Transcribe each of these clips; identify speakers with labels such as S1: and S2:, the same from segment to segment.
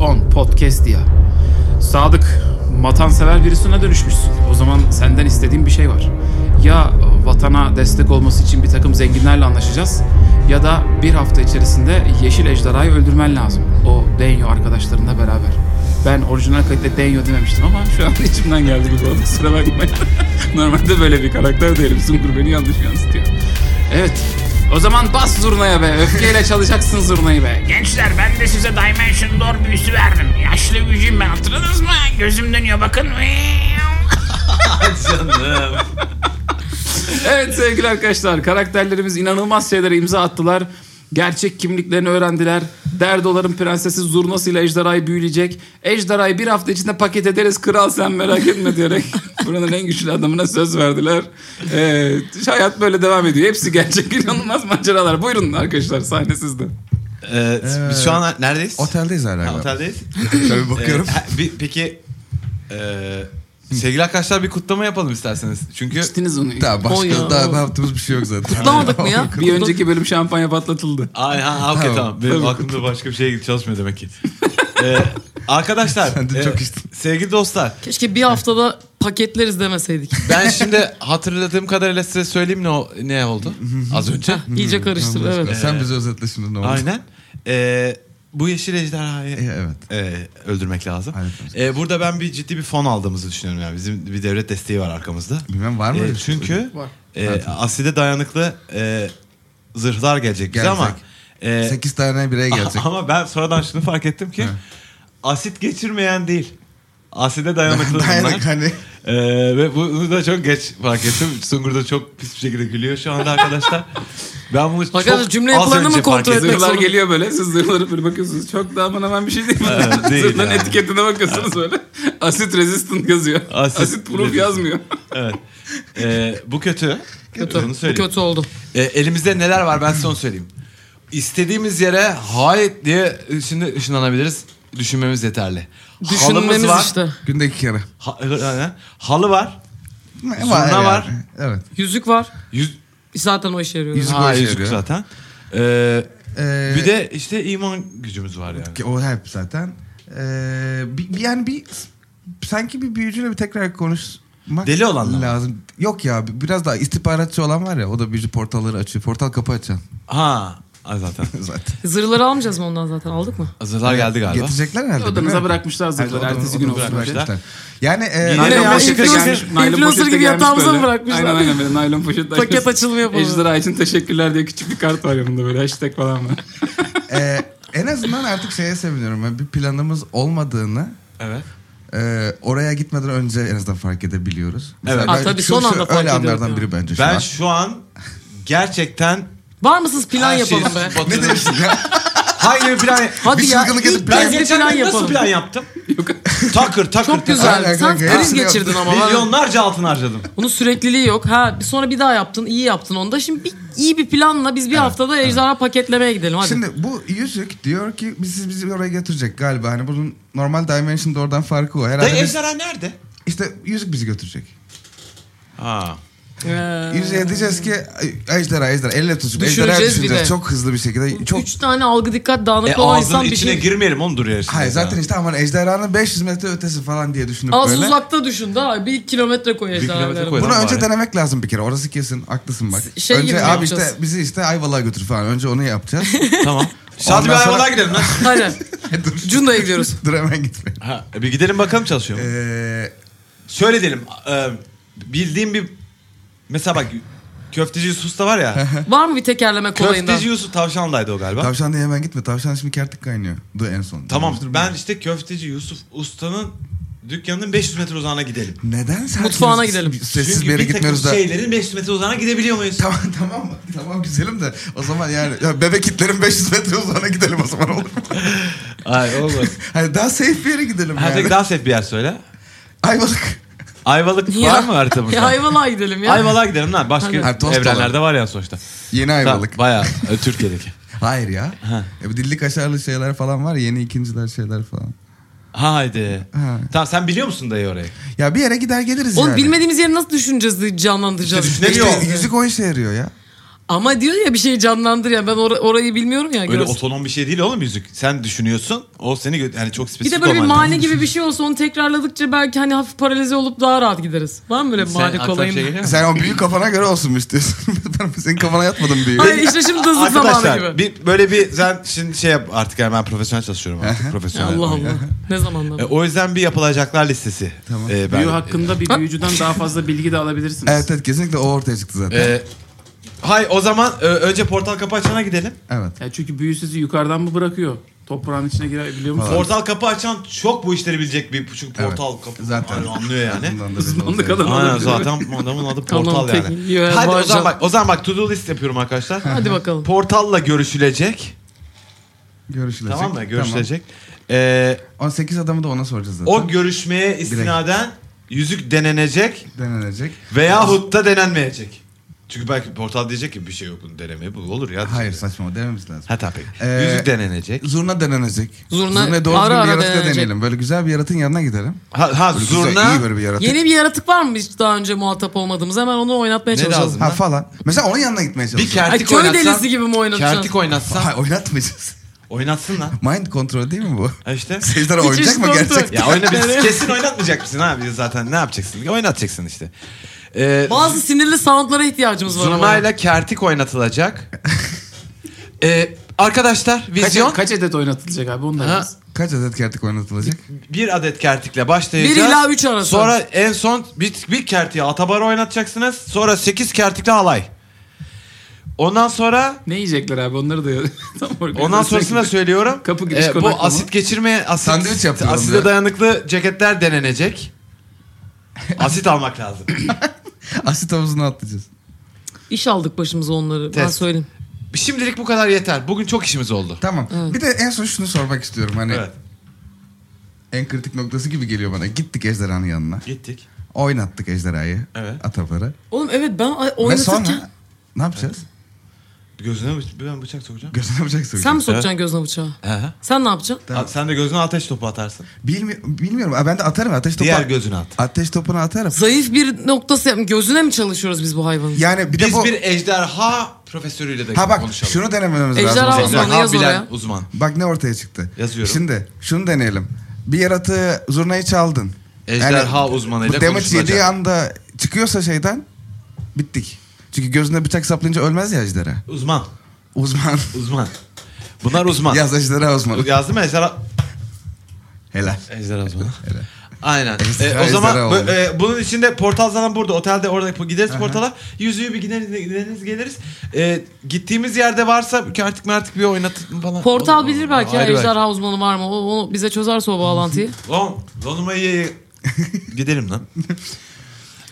S1: on podcast ya. Sadık, vatansever birisine dönüşmüşsün. O zaman senden istediğim bir şey var. Ya vatana destek olması için bir takım zenginlerle anlaşacağız ya da bir hafta içerisinde Yeşil Ejderha'yı öldürmen lazım. O Denyo arkadaşlarınla beraber. Ben orijinal kayıtta Denyo dememiştim ama şu an içimden geldi gibi oldu. Kusura bakmayın. Normalde böyle bir karakter değilim. Sungur beni yanlış yansıtıyor. Evet. O zaman bas zurnaya be. Öfkeyle çalacaksın zurnayı be.
S2: Gençler ben de size Dimension Door büyüsü verdim. Yaşlı gücüm ben hatırladınız mı? Gözüm dönüyor bakın.
S3: Canım.
S1: Evet sevgili arkadaşlar karakterlerimiz inanılmaz şeylere imza attılar. Gerçek kimliklerini öğrendiler. Derdoların prensesi Zurnası ile Ejderha'yı büyüleyecek. Ejderha'yı bir hafta içinde paket ederiz kral sen merak etme diyerek buranın en güçlü adamına söz verdiler. Ee, hayat böyle devam ediyor. Hepsi gerçek inanılmaz maceralar. Buyurun arkadaşlar sahne sizde.
S3: Ee, biz şu an neredeyiz?
S4: Oteldeyiz hala.
S3: Ha,
S4: galiba.
S3: oteldeyiz.
S4: Şöyle bir bakıyorum.
S3: Ee, ha, bir- peki e, sevgili arkadaşlar bir kutlama yapalım isterseniz. Çünkü
S1: İçtiniz onu.
S4: Tamam başka
S1: Oy ya.
S4: daha ne yaptığımız bir şey yok zaten.
S5: Kutlamadık mı ya?
S1: Bir önceki bölüm şampanya patlatıldı.
S3: Ay ha ha, okey
S4: Tamam.
S3: tamam. Benim
S1: Tabii.
S3: aklımda başka bir şey çalışmıyor demek ki. Ee, arkadaşlar,
S4: Sen de
S3: e,
S4: çok istedin.
S3: sevgili dostlar.
S5: Keşke bir haftada paketleriz demeseydik.
S3: Ben şimdi hatırladığım kadarıyla size söyleyeyim ne o- ne oldu az önce.
S5: İyice karıştırdı
S4: Tamam,
S5: evet.
S4: başka. Sen bize özetle şimdi ne oldu?
S3: Aynen. Ee, bu yeşil ejderhayı
S4: Ee, evet.
S3: e, öldürmek lazım.
S4: Aynen.
S3: Ee, burada ben bir ciddi bir fon aldığımızı düşünüyorum yani. Bizim bir devlet desteği var arkamızda.
S4: Bilmem var mı?
S3: Ee,
S4: öyle bir şey?
S3: çünkü
S1: Var.
S3: e, aside dayanıklı e, zırhlar gelecek bize ama
S4: Gelecek.
S3: e,
S4: Sekiz tane bireye gelecek.
S3: ama ben sonradan şunu fark ettim ki
S4: Evet.
S3: asit geçirmeyen değil. Aside dayanıklı
S4: Dayanak
S3: bunlar.
S4: hani.
S3: E, ve bunu da çok geç fark ettim. Sungur da çok pis bir şekilde gülüyor şu anda arkadaşlar. Ben bunu
S5: Arkadaşlar
S3: çok
S5: cümle
S3: az
S5: yapılarını
S3: önce
S5: mı kontrol
S3: fark ettim.
S5: etmek
S1: Zırhlar
S5: zorunda?
S1: geliyor böyle. Siz zırhları böyle bakıyorsunuz. Çok da aman hemen bir şey değil.
S3: Evet, değil
S1: Zırhların
S3: yani.
S1: etiketine bakıyorsunuz böyle. Asit resistant yazıyor. Asit,
S3: Asit
S1: proof
S3: resistant.
S1: yazmıyor.
S3: Evet. E, bu kötü.
S5: Kötü.
S3: Onu
S5: Bu
S3: söyleyeyim.
S5: kötü oldu.
S3: E, elimizde neler var ben size onu söyleyeyim. İstediğimiz yere hayt diye şimdi ışınlanabiliriz. Düşünmemiz yeterli. Halımız
S5: Düşünmemiz
S3: var.
S5: işte.
S4: Günde iki kere.
S3: Ha- aynen. halı var.
S4: Ne
S3: Zurna var.
S4: Evet.
S5: Yüzük var.
S3: Yüz,
S5: Zaten o işe yarıyor.
S4: Yüzük
S3: ha,
S4: o işe
S3: yüzük
S4: yarıyor.
S3: zaten. Ee,
S4: Ee,
S3: bir de işte iman gücümüz var yani.
S4: ki o hep zaten. Ee, bir, bir- yani bir sanki bir büyücüyle bir tekrar konuşmak
S3: Deli olanlar mı?
S4: lazım. Yok ya bi- biraz daha istihbaratçı olan var ya o da büyücü portalları açıyor. Portal kapı açan
S3: Ha, ha zaten.
S4: zaten.
S5: Zırhları almayacağız mı ondan zaten? Aldık mı?
S3: Hazırlar geldi galiba.
S4: Getirecekler herhalde. değil
S1: Odanıza
S4: mi?
S1: bırakmışlar zırhları.
S4: Hayır,
S1: Ertesi
S4: odam-
S1: gün
S4: odamıza
S1: olsun.
S3: bırakmışlar.
S4: bırakmışlar. Yani e,
S3: Yine
S4: ne
S1: Naylon
S5: ya,
S1: poşete
S5: influencer-
S1: gelmiş. Naylon
S5: influencer
S1: poşete
S5: gibi
S1: gelmiş
S5: yatağımıza
S1: böyle.
S5: mı bırakmışlar?
S1: Aynen aynen böyle naylon poşette
S5: Paket
S1: açıyorsun.
S5: açılmıyor falan.
S1: Ejderha için teşekkürler diye küçük bir kart var yanında böyle hashtag falan var.
S4: e, en azından artık şeye seviniyorum. Yani Bir planımız olmadığını
S3: Evet.
S4: e, oraya gitmeden önce en azından fark edebiliyoruz. Mesela
S3: Evet.
S5: Ha,
S4: ben-
S5: tabii
S4: şu-
S5: son
S4: şu
S5: anda fark
S4: Öyle
S5: ediyoruz
S4: anlardan
S5: ya.
S4: biri bence şu
S3: Ben
S4: an.
S3: şu an gerçekten
S5: Var mısınız plan
S3: her şeyi
S5: yapalım be?
S3: batırdım.
S4: Ya,
S3: Hayır bir plan.
S5: Hadi
S4: Bir
S5: ya.
S4: çılgınlık
S5: ilk
S4: edip plan-
S5: kez
S3: Ben
S5: bir
S3: geçen
S5: plan
S3: gün nasıl
S5: yapalım.
S3: plan yaptım?
S1: Yok.
S3: Takır takır.
S5: Çok
S3: takır.
S4: Aynen,
S5: güzel. Sen
S4: aynen.
S5: kriz
S4: Hepsini
S5: geçirdin ama. bak.
S3: Milyonlarca altın harcadım.
S5: Bunun sürekliliği yok. Ha sonra bir daha yaptın. iyi yaptın onu da. Şimdi bir, iyi bir planla biz bir haftada ejderha paketlemeye gidelim hadi.
S4: Şimdi bu yüzük diyor ki bizi bizi oraya götürecek galiba. Hani bunun normal Dimension Door'dan farkı o. Herhalde
S3: Dayı
S4: biz-
S3: ejderha nerede?
S4: işte yüzük bizi götürecek.
S3: Ha.
S5: Ee,
S4: Yüzüğe diyeceğiz ki "Ay, ejderha ejderha elle tutup ejderha
S5: Düşüreceğiz bir de.
S4: düşüneceğiz. Çok hızlı bir şekilde. Çok
S5: Üç tane algı dikkat dağınık
S3: E,
S5: olan
S3: ağzının
S5: insan bir
S3: içine
S5: şey...
S3: girmeyelim onu duruyor şimdi.
S4: Hayır zaten
S3: Ya.
S4: işte aman ejderhanın 500 metre ötesi falan diye düşünüp
S5: Az
S4: böyle.
S5: uzakta düşün daha. Bir kilometre koy
S3: kilometre
S5: ejderhalara.
S3: koy.
S4: Bunu
S3: Bari.
S4: önce denemek lazım bir kere. Orası kesin. Haklısın bak.
S5: Şey gibi mi
S4: önce abi
S5: yapacağız?
S4: işte bizi işte Ayvalık'a götür falan. Önce onu yapacağız.
S3: Tamam. Şadi bir
S4: Ondan sonra-
S3: hayvana gidelim lan.
S5: Aynen.
S4: Dur.
S5: Cunda'ya gidiyoruz.
S4: Dur hemen gitme.
S3: Ha, bir gidelim bakalım çalışıyor mu?
S4: Ee,
S3: Şöyle diyelim. e, bildiğim bir... Mesela bak köfteci Yusuf da var ya.
S5: Var mı bir tekerleme kolayından?
S3: köfteci Yusuf tavşanlaydı o galiba.
S4: tavşan diye hemen gitme. Tavşan şimdi kertik kaynıyor. Dur en son.
S3: Tamam
S4: Dur,
S3: ben işte köfteci Yusuf Usta'nın dükkanının 500 metre uzağına gidelim.
S4: Neden sen
S5: Mutfağına
S4: şimdi
S5: gidelim.
S4: Sessiz bir
S3: Çünkü
S4: yere
S3: bir şey- takım
S4: gitmiyoruz da.
S3: şeylerin 500 metre uzağına gidebiliyor muyuz?
S4: Tamam tamam tamam güzelim de o zaman yani ya bebek kitlerin 500 metre uzağına gidelim o zaman olur mu?
S3: Hayır olmaz.
S4: Hani daha safe bir yere gidelim
S3: Ha, peki
S4: yani.
S3: daha safe bir yer söyle.
S4: Ayvalık.
S3: Ayvalık
S5: Ya.
S3: var mı haritamızda?
S5: Ya hayvana gidelim ya.
S3: Ayvalık'a gidelim lan. Başka
S5: Hadi.
S4: Ha, tost
S3: evrenlerde var ya sonuçta.
S4: Yeni Ayvalık.
S3: Tamam, Bayağı e, Türkiye'deki.
S4: Hayır ya.
S3: Ha.
S4: E, bu dilli kaşarlı şeyler falan var ya, yeni ikinciler şeyler falan.
S3: Haydi.
S4: Ha.
S3: Tamam sen biliyor musun dayı orayı?
S4: Ya bir yere gider geliriz
S5: Oğlum
S4: yani.
S5: bilmediğimiz yeri nasıl düşüneceğiz, canlandıracağız?
S3: İşte düşünemiyorum.
S4: İşte yüzük o işe yarıyor ya.
S5: Ama diyor ya bir şey canlandır ya ben or- orayı bilmiyorum ya.
S3: Öyle
S5: göz.
S3: otonom bir şey değil oğlum müzik. Sen düşünüyorsun. O seni gö- yani çok
S5: bir
S3: spesifik
S5: de böyle bir
S3: olman lazım.
S5: mane gibi bir şey olsa onu tekrarladıkça belki hani hafif paralize olup daha rahat gideriz. Var mı böyle bir
S3: Sen
S5: mane
S3: aklına bir
S5: kolayın?
S3: şey geliyor mu?
S4: Sen o büyük kafana göre olsun mu istiyorsun? ben senin kafana yatmadım büyüğü.
S5: Hayır işte şimdi hızlı zamanı
S3: Arkadaşlar
S5: gibi.
S3: bir, böyle bir sen şimdi şey yap artık yani ben profesyonel çalışıyorum artık profesyonel.
S5: Allah Allah. Ne zamandan?
S3: şey E, o yüzden bir yapılacaklar listesi. E, Tamam.
S1: Büyü hakkında bir büyücüden daha fazla bilgi de alabilirsiniz.
S4: Evet evet kesinlikle o ortaya çıktı zaten.
S3: Ee, hay o zaman e, önce portal kapı açana gidelim.
S4: Evet.
S1: Ya çünkü büyü sizi yukarıdan mı bırakıyor? Toprağın içine girebiliyor musunuz?
S3: Portal kapı açan çok bu işleri bilecek bir çünkü portal
S4: Evet,
S3: kapı
S4: zaten.
S3: Aynen, anlıyor yani.
S4: Bundan da belli
S1: Uzmanlık
S4: oldu.
S1: adamı
S3: Aynen
S1: olabilir.
S3: zaten adamın adı
S5: Tamam,
S3: portal
S5: peki.
S3: yani.
S5: Yo,
S3: Hadi o
S5: bağıracağım.
S3: zaman bak o zaman bak to do list yapıyorum arkadaşlar.
S5: Hadi bakalım.
S3: Portalla görüşülecek.
S4: Görüşülecek.
S3: Tamam mı? Görüşülecek. Ee,
S4: Tamam. 18 adamı da ona soracağız zaten.
S3: o görüşmeye istinaden yüzük denenecek
S4: Denenecek.
S3: veyahut da denenmeyecek. Çünkü belki portal diyecek ki bir şey yok bunu denemeye bu olur ya.
S4: Hayır
S3: diyecek.
S4: saçma denememiz lazım.
S3: Ha tamam peki.
S4: Ee,
S3: yüzük denenecek.
S4: Zurna denenecek.
S5: Zurna-
S4: Zurna'ya doğru
S5: ara
S4: düzgün bir
S5: ara
S4: yaratık
S5: denenecek.
S4: deneyelim. Böyle güzel bir yaratığın yanına gidelim.
S3: Ha, ha
S4: Böyle güzel,
S3: zurna.
S4: iyi böyle bir yaratık.
S5: Yeni bir yaratık var mı hiç daha önce muhatap olmadığımız? Hemen onu oynatmaya
S3: Ne
S5: çalışalım.
S3: lazım?
S4: Ha falan. Mesela onun yanına gitmeye
S3: Bir
S4: çalışalım.
S5: Ay,
S3: kertik
S5: köy
S3: oynatsan.
S5: delisi gibi mi oynatacaksın?
S3: Kertik oynatsan.
S4: Hayır oynatmayacağız.
S3: Oynatsın lan.
S4: Mind kontrol değil mi bu?
S3: Ha işte.
S4: Sejder
S5: Hiç
S4: oynayacak mı
S5: üst kontrol.
S4: gerçekten?
S3: Ya oyna biz kesin oynatmayacak mısın abi zaten ne yapacaksın? Oynatacaksın işte. Ee,
S5: Bazı sinirli soundlara ihtiyacımız var ama.
S3: zurnayla kertik oynatılacak. ee, arkadaşlar vizyon
S1: Kaç, kaç adet oynatılacak abi onu da
S3: Ha.
S1: yaz.
S4: Kaç adet kertik oynatılacak?
S3: bir adet kertikle başlayacağız.
S5: Bir ila üç arası.
S3: Sonra en son bir, bir kertiği atabara oynatacaksınız. Sonra sekiz kertikle halay. Ondan sonra
S1: Ne yiyecekler abi onları da tam organize
S3: Ondan sonrasını da
S1: edecek.
S3: söylüyorum.
S1: Kapı giriş
S3: Ee, bu
S1: konaklama.
S3: asit geçirme
S4: Sandviç
S3: asit,
S4: yapıyorum
S3: asite
S4: ya.
S3: dayanıklı ceketler denenecek. Asit almak lazım.
S4: Asit havuzuna atlayacağız.
S5: İş aldık başımıza onları. Ben
S3: Test.
S5: söyleyeyim.
S3: Şimdilik bu kadar yeter. Bugün çok işimiz oldu.
S4: Tamam. Bir de en son şunu sormak istiyorum. Hani
S3: Evet.
S4: en kritik noktası gibi geliyor bana. Gittik ejderhanın yanına.
S3: Gittik.
S4: Oynattık ejderhayı.
S3: Evet.
S4: Atabarı.
S5: Oğlum evet ben ay-
S4: Ve
S5: oynatırken...
S4: sonra ne yapacağız?
S3: Gözüne bı- ben bıçak sokacağım.
S4: Gözüne bıçak
S5: Sen mi
S4: sokacağız.
S5: sokacaksın gözüne bıçağı?
S3: Aha.
S5: Sen ne yapacaksın?
S4: Tamam.
S3: A- Sen de gözüne ateş topu atarsın.
S4: Bilmi- bilmiyorum. Aa, Ben de atarım. Ateş topu.
S3: Diğer gözüne at.
S4: Ateş topunu atarım.
S5: Zayıf bir noktası gözüne mi çalışıyoruz biz bu hayvanın?
S4: Yani bir de
S3: Biz
S4: bu...
S3: bir ejderha profesörüyle de
S4: Ha bak
S3: konuşalım.
S4: şunu denememiz
S5: Ejderha
S4: lazım.
S5: olsa-
S3: Ejderha
S5: Onu yaz
S3: bilen
S5: oraya.
S3: uzman.
S4: Bak ne ortaya çıktı.
S3: Yazıyorum.
S4: Şimdi şunu deneyelim. Bir yaratığı zurnayı çaldın.
S3: Ejderha
S4: Yani
S3: uzmanıyla
S4: bu damage yediği
S3: konuşulacak.
S4: anda çıkıyorsa şeyden bittik. Çünkü gözüne bıçak saplayınca ölmez ya ejderha.
S3: Uzman.
S4: Uzman.
S3: Uzman. Bunlar uzman.
S4: Yaz ejderha uzmanı.
S3: Yazdı mı ejderha?
S4: Helal.
S3: Ejderha uzmanı. Aynen. E,
S4: Ejderha,
S3: o zaman
S4: ejderha
S3: bu-
S4: oldu.
S3: e, bunun içinde portal zaten burada. Otelde orada gideriz portala. Yüzüğü bir gideriz, gideriz geliriz. E, gittiğimiz yerde varsa artık mertik bir oynatın falan.
S5: Portal
S3: Olur,
S5: bilir
S3: olur.
S5: belki ya
S3: Ayrı
S5: ejderha uzmanı var mı? O, o bize çözerse o bağlantıyı.
S3: Lan dondurma ye. Gidelim lan.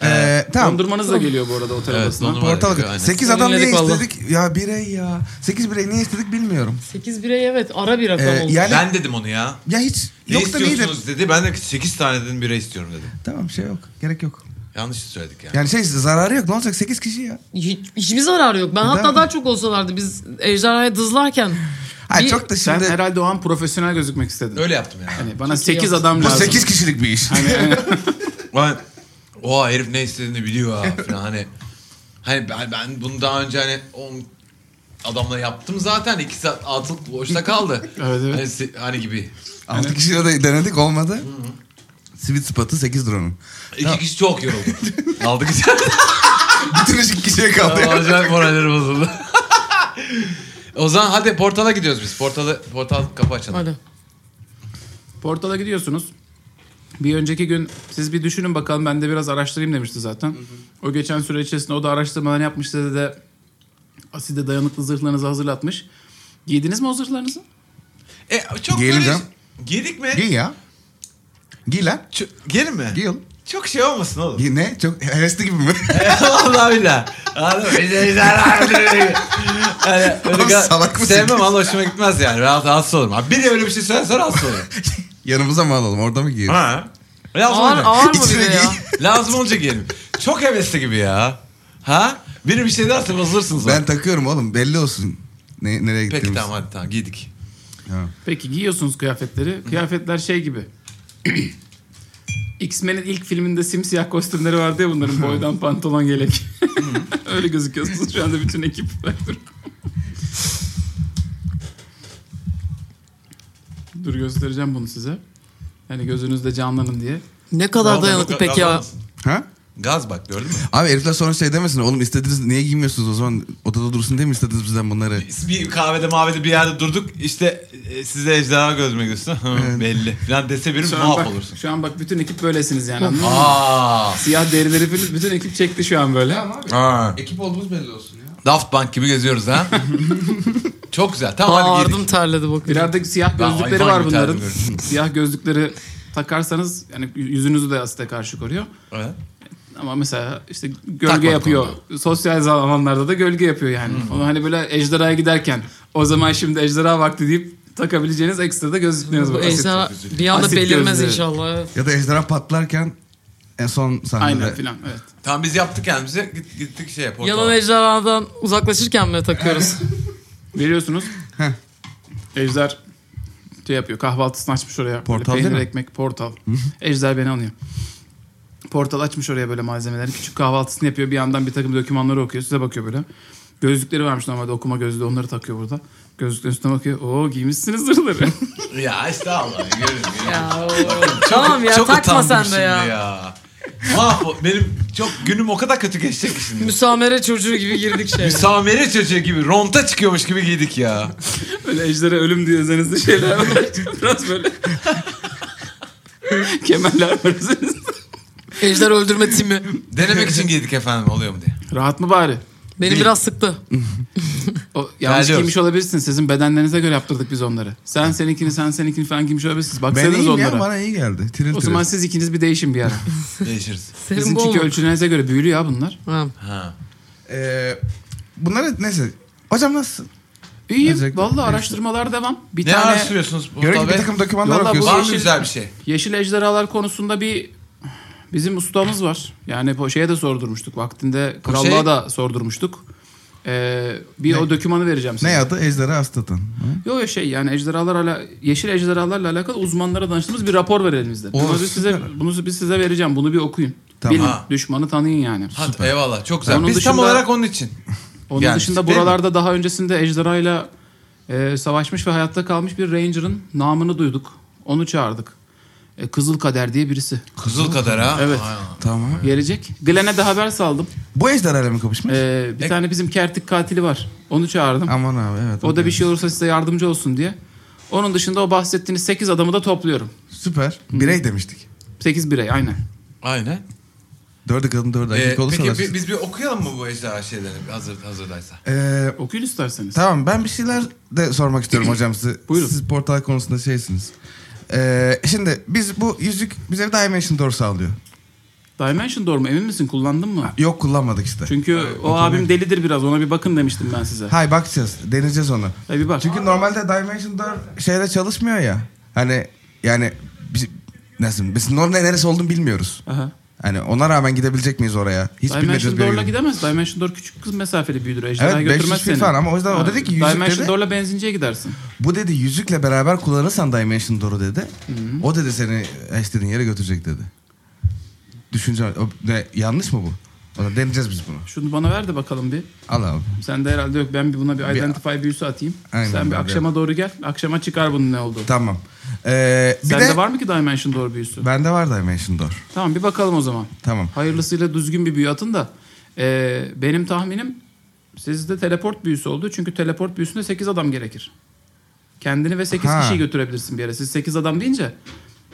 S4: Ee, tamam.
S1: Dondurmanız da geliyor bu arada otel
S3: Evet,
S1: odasına.
S3: dondurma- Aynen.
S4: Portal 8 adam niye
S5: Sinirlendik vallahi.
S4: istedik? Ya birey ya. 8 birey niye istedik bilmiyorum.
S5: 8 birey evet ara bir rakam
S4: Ee,
S5: oldu.
S4: yani
S3: Ben dedim onu ya.
S4: ya hiç
S3: Ne
S4: yok da neydi?
S3: istiyorsunuz dedi. Ben de 8 tane dedim bire istiyorum dedim.
S4: Tamam şey yok. Gerek yok.
S3: Yanlış söyledik yani.
S4: Yani şey zararı yok. Ne olacak 8 kişi ya.
S5: Hiç, hiçbir zararı yok. Ben hatta
S4: mi?
S5: daha çok olsalardı biz ejderhaya dızlarken.
S4: Hayır
S5: Bir-
S4: çok da
S1: Sen
S4: şimdi
S1: herhalde o an profesyonel gözükmek istedin.
S3: Öyle yaptım yani.
S1: Hani bana 8
S5: yaptın.
S1: adam
S4: bu
S1: lazım.
S4: 8 kişilik bir iş.
S3: Ulan oha herif ne istediğini biliyor ha falan hani. Hani ben, ben bunu daha önce hani on adamla yaptım zaten. iki saat atılıp boşta kaldı.
S1: Evet, evet.
S3: Hani, se- hani gibi.
S4: 6 kişiyle de denedik olmadı. Sweet spot'ı 8 drone'un.
S3: İki kişi çok yoruldu. Aldık içeri.
S4: Bütün iş iki kişiye kaldı. ya.
S3: Acayip moralleri bozuldu. o zaman hadi portala gidiyoruz biz. Portalı, portal kapı açalım.
S5: Hadi.
S1: Portala gidiyorsunuz. Bir önceki gün siz bir düşünün bakalım ben de biraz araştırayım demişti zaten. O geçen süre içerisinde o da araştırmalarını yapmış size de aside dayanıklı zırhlarınızı hazırlatmış. Giydiniz mi o zırhlarınızı?
S3: E, çok
S4: Giyelim
S3: böyle...
S4: canım.
S3: Giydik mi?
S4: Giy ya. Giy lan.
S3: Ç- Giyelim mi?
S4: Giy oğlum.
S3: Çok şey olmasın oğlum.
S4: Giy ne? Çok hevesli gibi mi?
S3: Vallahi billahi. Anladın mı? Yani öyle
S4: Oğlum
S3: gal-
S4: salak mısın?
S3: Sevmem ama hoşuma gitmez yani. Rahat rahatsız olurum. Abi biri öyle bir şey söylerse rahatsız olurum.
S4: Yanımıza mı alalım? Orada mı giyelim?
S3: ha. Lazım
S5: Ağır,
S3: olacak.
S5: ağır mı bir
S4: İçine
S5: de ya?
S4: giy.
S3: Lazım olunca giyelim. Çok hevesli gibi ya. Ha? Biri bir şey derse bozulursunuz.
S4: Ben takıyorum oğlum. Belli olsun. Ne, nereye gittiğimiz.
S3: Peki tamam hadi tamam giydik.
S4: Ha.
S1: Peki giyiyorsunuz kıyafetleri. Kıyafetler şey gibi. X-Men'in ilk filminde simsiyah kostümleri vardı ya bunların boydan pantolon yelek. Öyle gözüküyorsunuz şu anda bütün ekip. Dur göstereceğim bunu size. Yani gözünüzde canlanın diye.
S5: Ne kadar
S3: Bravo,
S5: dayanıklı
S3: bravo,
S5: peki
S3: bravo.
S5: ya.
S4: Ha?
S3: Gaz bak gördün mü?
S4: Abi herifler sonra şey demesin. Oğlum istediniz niye giymiyorsunuz o zaman? Odada dursun diye mi istediniz bizden bunları?
S3: Biz bir kahvede mavede bir yerde durduk. İşte e, size ejderha gözüme göstersin. Hı, Belli. Falan dese birim
S1: Şu an, bak,
S3: mahvolursun.
S1: şu an bak bütün ekip böylesiniz yani anladın mı?
S3: Aa.
S1: Siyah derileri bütün- bütün ekip çekti şu an böyle.
S3: Aa.
S4: Ekip olduğumuz belli olsun ya.
S3: Daft Punk gibi geziyoruz ha. Çok güzel. Tamam
S5: Aa,
S3: hadi
S5: ardım
S3: girdik.
S5: terledi bak.
S1: Birer de siyah
S3: Ben
S1: gözlükleri
S3: hayvan
S1: var
S3: gibi
S1: bunların.
S3: terliyorum.
S1: siyah gözlükleri takarsanız yani yüzünüzü de asite karşı koruyor.
S3: Evet.
S1: Ama mesela işte gölge
S3: Takmadık
S1: yapıyor. Sosyal zamanlarda da gölge yapıyor yani. Onu hani böyle ejderhaya giderken o zaman şimdi ejderha vakti deyip takabileceğiniz ekstra da gözlükleriniz var. Asit-
S5: Ejderha bir anda
S1: Asit
S5: belirmez
S1: gözleri.
S5: inşallah. evet.
S4: Ya da ejderha patlarken en son sahnede.
S1: Aynen filan evet.
S3: Tamam biz yaptık kendimize. Git- Gittik şey, şeye portala.
S5: Yalan ejderhadan uzaklaşırken mi takıyoruz?
S1: Veriyorsunuz.
S4: Heh.
S1: Ejder şey yapıyor. Kahvaltısını açmış oraya. Böyle
S4: Portal
S1: peynir,
S4: değil mi?
S1: ekmek, portal. Ejder beni anıyor. Portal açmış oraya böyle malzemeleri. Küçük kahvaltısını yapıyor. Bir yandan bir takım dokümanları okuyor. Size bakıyor böyle. Gözlükleri varmış normalde okuma gözlüğü. Onları takıyor burada. Gözlüklerin üstüne bakıyor. Oo giymişsiniz zırhları.
S3: Ya estağfurullah. Görürüz. görürüz.
S5: ya, o- tamam ya takma
S3: utandım
S5: sen de
S3: şimdi
S5: ya.
S3: Mahvol. Benim çok günüm o kadar kötü geçecek ki şimdi.
S5: Müsamere çocuğu gibi girdik şey.
S3: Müsamere çocuğu gibi ronta çıkıyormuş gibi giydik ya.
S1: Böyle ejdere ölüm diye üzerinizde şeyler var. Biraz böyle. Kemerler var üzerinizde.
S5: Ejder öldürme timi.
S3: Denemek için giydik efendim oluyor mu diye.
S1: Rahat mı bari?
S5: Beni
S3: Değil.
S5: biraz sıktı.
S1: O, yanlış
S3: Terliyoruz.
S1: giymiş olabilirsin. Sizin bedenlerinize göre yaptırdık biz onları. Sen seninkini, sen seninkini falan giymiş olabilirsiniz.
S4: Ben
S1: Baksaydınız
S4: iyiyim
S1: onlara.
S4: ya bana iyi geldi. Tiril
S1: O
S4: tiril.
S1: zaman siz ikiniz bir değişin bir ara.
S3: Değişiriz.
S5: Senin bu
S1: Bizimki
S5: mu?
S1: ölçülerinize göre büyülü ya bunlar.
S5: Ha.
S3: Ha.
S4: Ee, bunlara neyse. Hocam nasılsın?
S1: İyi.
S4: Özellikle-
S1: Vallahi araştmalar devam. Bir
S3: Ne
S1: tane
S3: araştırıyorsunuz? bu
S4: Göre
S3: tabi?
S4: gibi bir takım dokümanlar
S1: Yolla bu-
S4: okuyorsun.
S3: Var mı
S1: Yeşil-
S3: güzel bir şey?
S1: yeşil ejderhalar konusunda bir bizim ustamız var. Yani po- şeye de sordurmuştuk. Vaktinde krallığa
S3: şey-
S1: da sordurmuştuk. Ee, bir
S4: Ne?
S1: o dokümanı vereceğim size.
S4: Ne adı? Ejderha Astat'ın.
S1: Yok ya şey yani ejderhalar ala, yeşil ejderhalarla alakalı uzmanlara danıştığımız bir rapor var elimizde.
S4: Oo,
S1: Bunu biz size bunu biz size vereceğim. Bunu bir okuyun.
S4: Tamam.
S1: Bilin, düşmanı tanıyın yani.
S3: Ha, eyvallah çok güzel.
S1: Onun
S3: Biz tam
S1: dışında-
S3: olarak onun için.
S1: Onun
S3: Yani,
S1: dışında
S3: değil mi?
S1: buralarda daha öncesinde ejderhayla e, savaşmış ve hayatta kalmış bir ranger'ın namını duyduk. Onu çağırdık. E, Kızıl Kader diye birisi.
S3: Kızıl kadar ha.
S1: Evet.
S3: Aynen.
S4: Tamam.
S1: Gelecek. Glenn'e de haber saldım.
S4: Bu ejderha mı kapışmış?
S1: E, bir tane bizim kertik katili var. Onu çağırdım.
S4: Aman abi evet.
S1: O da
S4: okey.
S1: bir şey olursa size yardımcı olsun diye. Onun dışında o bahsettiğiniz 8 adamı da topluyorum.
S4: Süper. Birey demiştik.
S1: 8 birey aynen.
S3: Aynen.
S4: Dördü kadın dördü
S3: Ee,
S4: erkek olursa.
S3: peki
S4: Peki,
S3: bi- biz bir okuyalım mı bu ejderha şeylerini hazır, hazırdaysa?
S1: Okuyun isterseniz.
S4: Ee, tamam ben bir şeyler de sormak istiyorum hocam size.
S1: Buyurun.
S4: Siz portal konusunda şeysiniz. Ee, şimdi biz bu yüzük bize Dimension Door sağlıyor.
S1: Dimension Door mu? Emin misin? Kullandın mı?
S4: Yok kullanmadık işte.
S1: Çünkü o abim delidir biraz. Ona bir bakın demiştim ben size.
S4: Hay bakacağız. Deneyeceğiz onu.
S1: E, bir bak.
S4: Çünkü normalde Dimension Door şeyle çalışmıyor ya. Hani yani biz, nasıl biz normalde neresi olduğunu bilmiyoruz.
S1: Aha.
S4: Hani ona rağmen gidebilecek miyiz oraya? Hiç bilmediğimiz
S1: Dimension
S4: bir yere
S1: Door'la
S4: gidiyoruz.
S1: gidemez. Dimension Door küçük kız mesafeli büyüdür. Ejderha
S4: Evet 500
S1: götürmez seni.
S4: feet falan ama o yüzden o
S1: Ha,
S4: dedi ki yüzük
S1: Dimension
S4: dedi.
S1: Door'la benzinciye gidersin.
S4: Bu dedi yüzükle beraber kullanırsan Dimension Door'u dedi. O dedi seni istediğin yere götürecek dedi. Düşünce o- ne, yanlış mı bu? O da deneyeceğiz biz bunu.
S1: Şunu bana ver de bakalım bir.
S4: Al abi.
S1: Sende herhalde yok. Ben bir buna bir identify büyüsü atayım.
S4: Aynen,
S1: Sen bir
S4: ben de-
S1: akşama doğru gel. Akşama çıkar bunun ne olduğu.
S4: Tamam. Ee, bir
S1: Sende
S4: de,
S1: var mı ki Dimension Door büyüsü?
S4: Bende var Dimension Door.
S1: Tamam bir bakalım o zaman.
S4: Tamam.
S1: Hayırlısıyla düzgün bir büyü atın da. Ee, benim tahminim sizde teleport büyüsü oldu. Çünkü teleport büyüsünde 8 adam gerekir. Kendini ve 8
S4: Ha.
S1: kişiyi götürebilirsin bir yere. Siz 8 adam deyince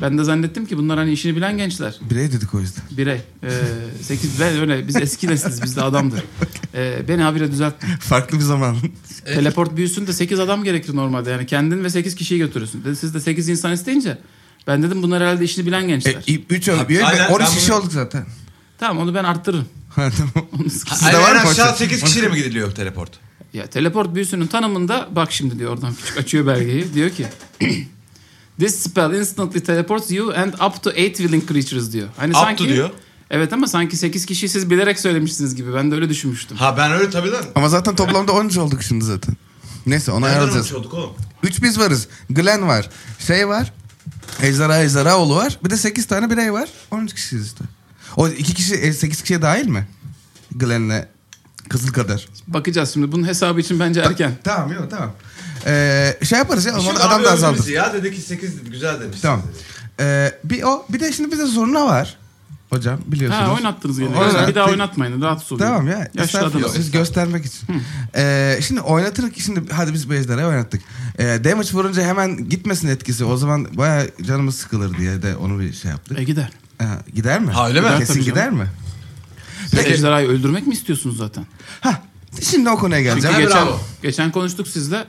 S1: ben de zannettim ki bunlar hani işini bilen gençler.
S4: Birey dedik o yüzden.
S1: Birey. Ee, 8 ben öyle biz eski nesiliz biz de adamdır. Ee, beni habire düzeltme.
S4: Farklı bir zaman. E,
S1: Teleport büyüsünde 8 adam gerekir normalde. Yani kendin ve 8 kişiyi götürürsün. De- Siz de 8 insan isteyince ben dedim bunlar herhalde işini bilen gençler.
S4: 3
S3: Abi, aynen, ben
S4: 13
S3: bunu-
S4: kişi olduk zaten.
S1: tamam onu ben arttırırım.
S4: Ha, tamam.
S1: Onu sıkı-
S4: Sizde var
S3: Aynen
S4: mı
S3: aşağı
S4: parça?
S3: 8 kişiyle mi gidiliyor teleport?
S1: Ya teleport büyüsünün tanımında bak şimdi diyor oradan küçük açıyor belgeyi. Diyor ki This spell instantly teleports you and up to 8 willing creatures diyor. Hani
S3: Up to diyor.
S1: Evet ama sanki 8 kişiyi siz bilerek söylemişsiniz gibi. Ben de öyle düşünmüştüm.
S3: Ha ben öyle tabii lan.
S4: Ama zaten toplamda 13 olduk şimdi zaten. Neyse onu
S3: Nereden
S4: ayarlayacağız.
S3: uçuyorduk oğlum?
S4: 3 biz varız. Glenn var. Şey var. Ejderha Ejderhaoğlu var. Bir de 8 tane birey var. 13 kişiyiz işte. O 2 kişi 8 kişiye e, dahil mi? Glenn'le Kızıl Kader.
S1: Bakacağız şimdi. Bunun hesabı için bence erken.
S4: Tamam yok tamam. Ee, şey yaparız ya o zaman
S3: Şimdi
S4: adam
S3: abi
S4: da
S3: övdü
S4: azaldı.
S3: bizi Ya dedi ki 8 güzel demiş.
S4: Tamam. Ee, bir o bir de şimdi bize zurna var. Hocam biliyorsunuz.
S1: Ha oynattınız gene.
S4: Oynattık.
S1: Bir daha oynatmayın. Rahatsız oluyor.
S4: Tamam ya.
S1: Yaşlı
S4: estağfurullah,
S1: adamız.
S4: Siz göstermek için. Ee, şimdi oynatırız şimdi hadi biz Bejder'e oynattık. Ee, damage vurunca hemen gitmesin etkisi. O zaman baya canımız sıkılır diye de onu bir şey yaptık.
S1: E gider.
S4: Ha, gider mi?
S3: Ha, öyle mi?
S1: Gider
S4: Kesin
S1: tabii
S4: gider
S1: canım.
S4: mi?
S1: Siz ejderhayı öldürmek mi istiyorsunuz zaten?
S4: Ha, şimdi o konuya geleceğim.
S1: Çünkü geçen,
S3: bravo.
S1: geçen konuştuk sizle.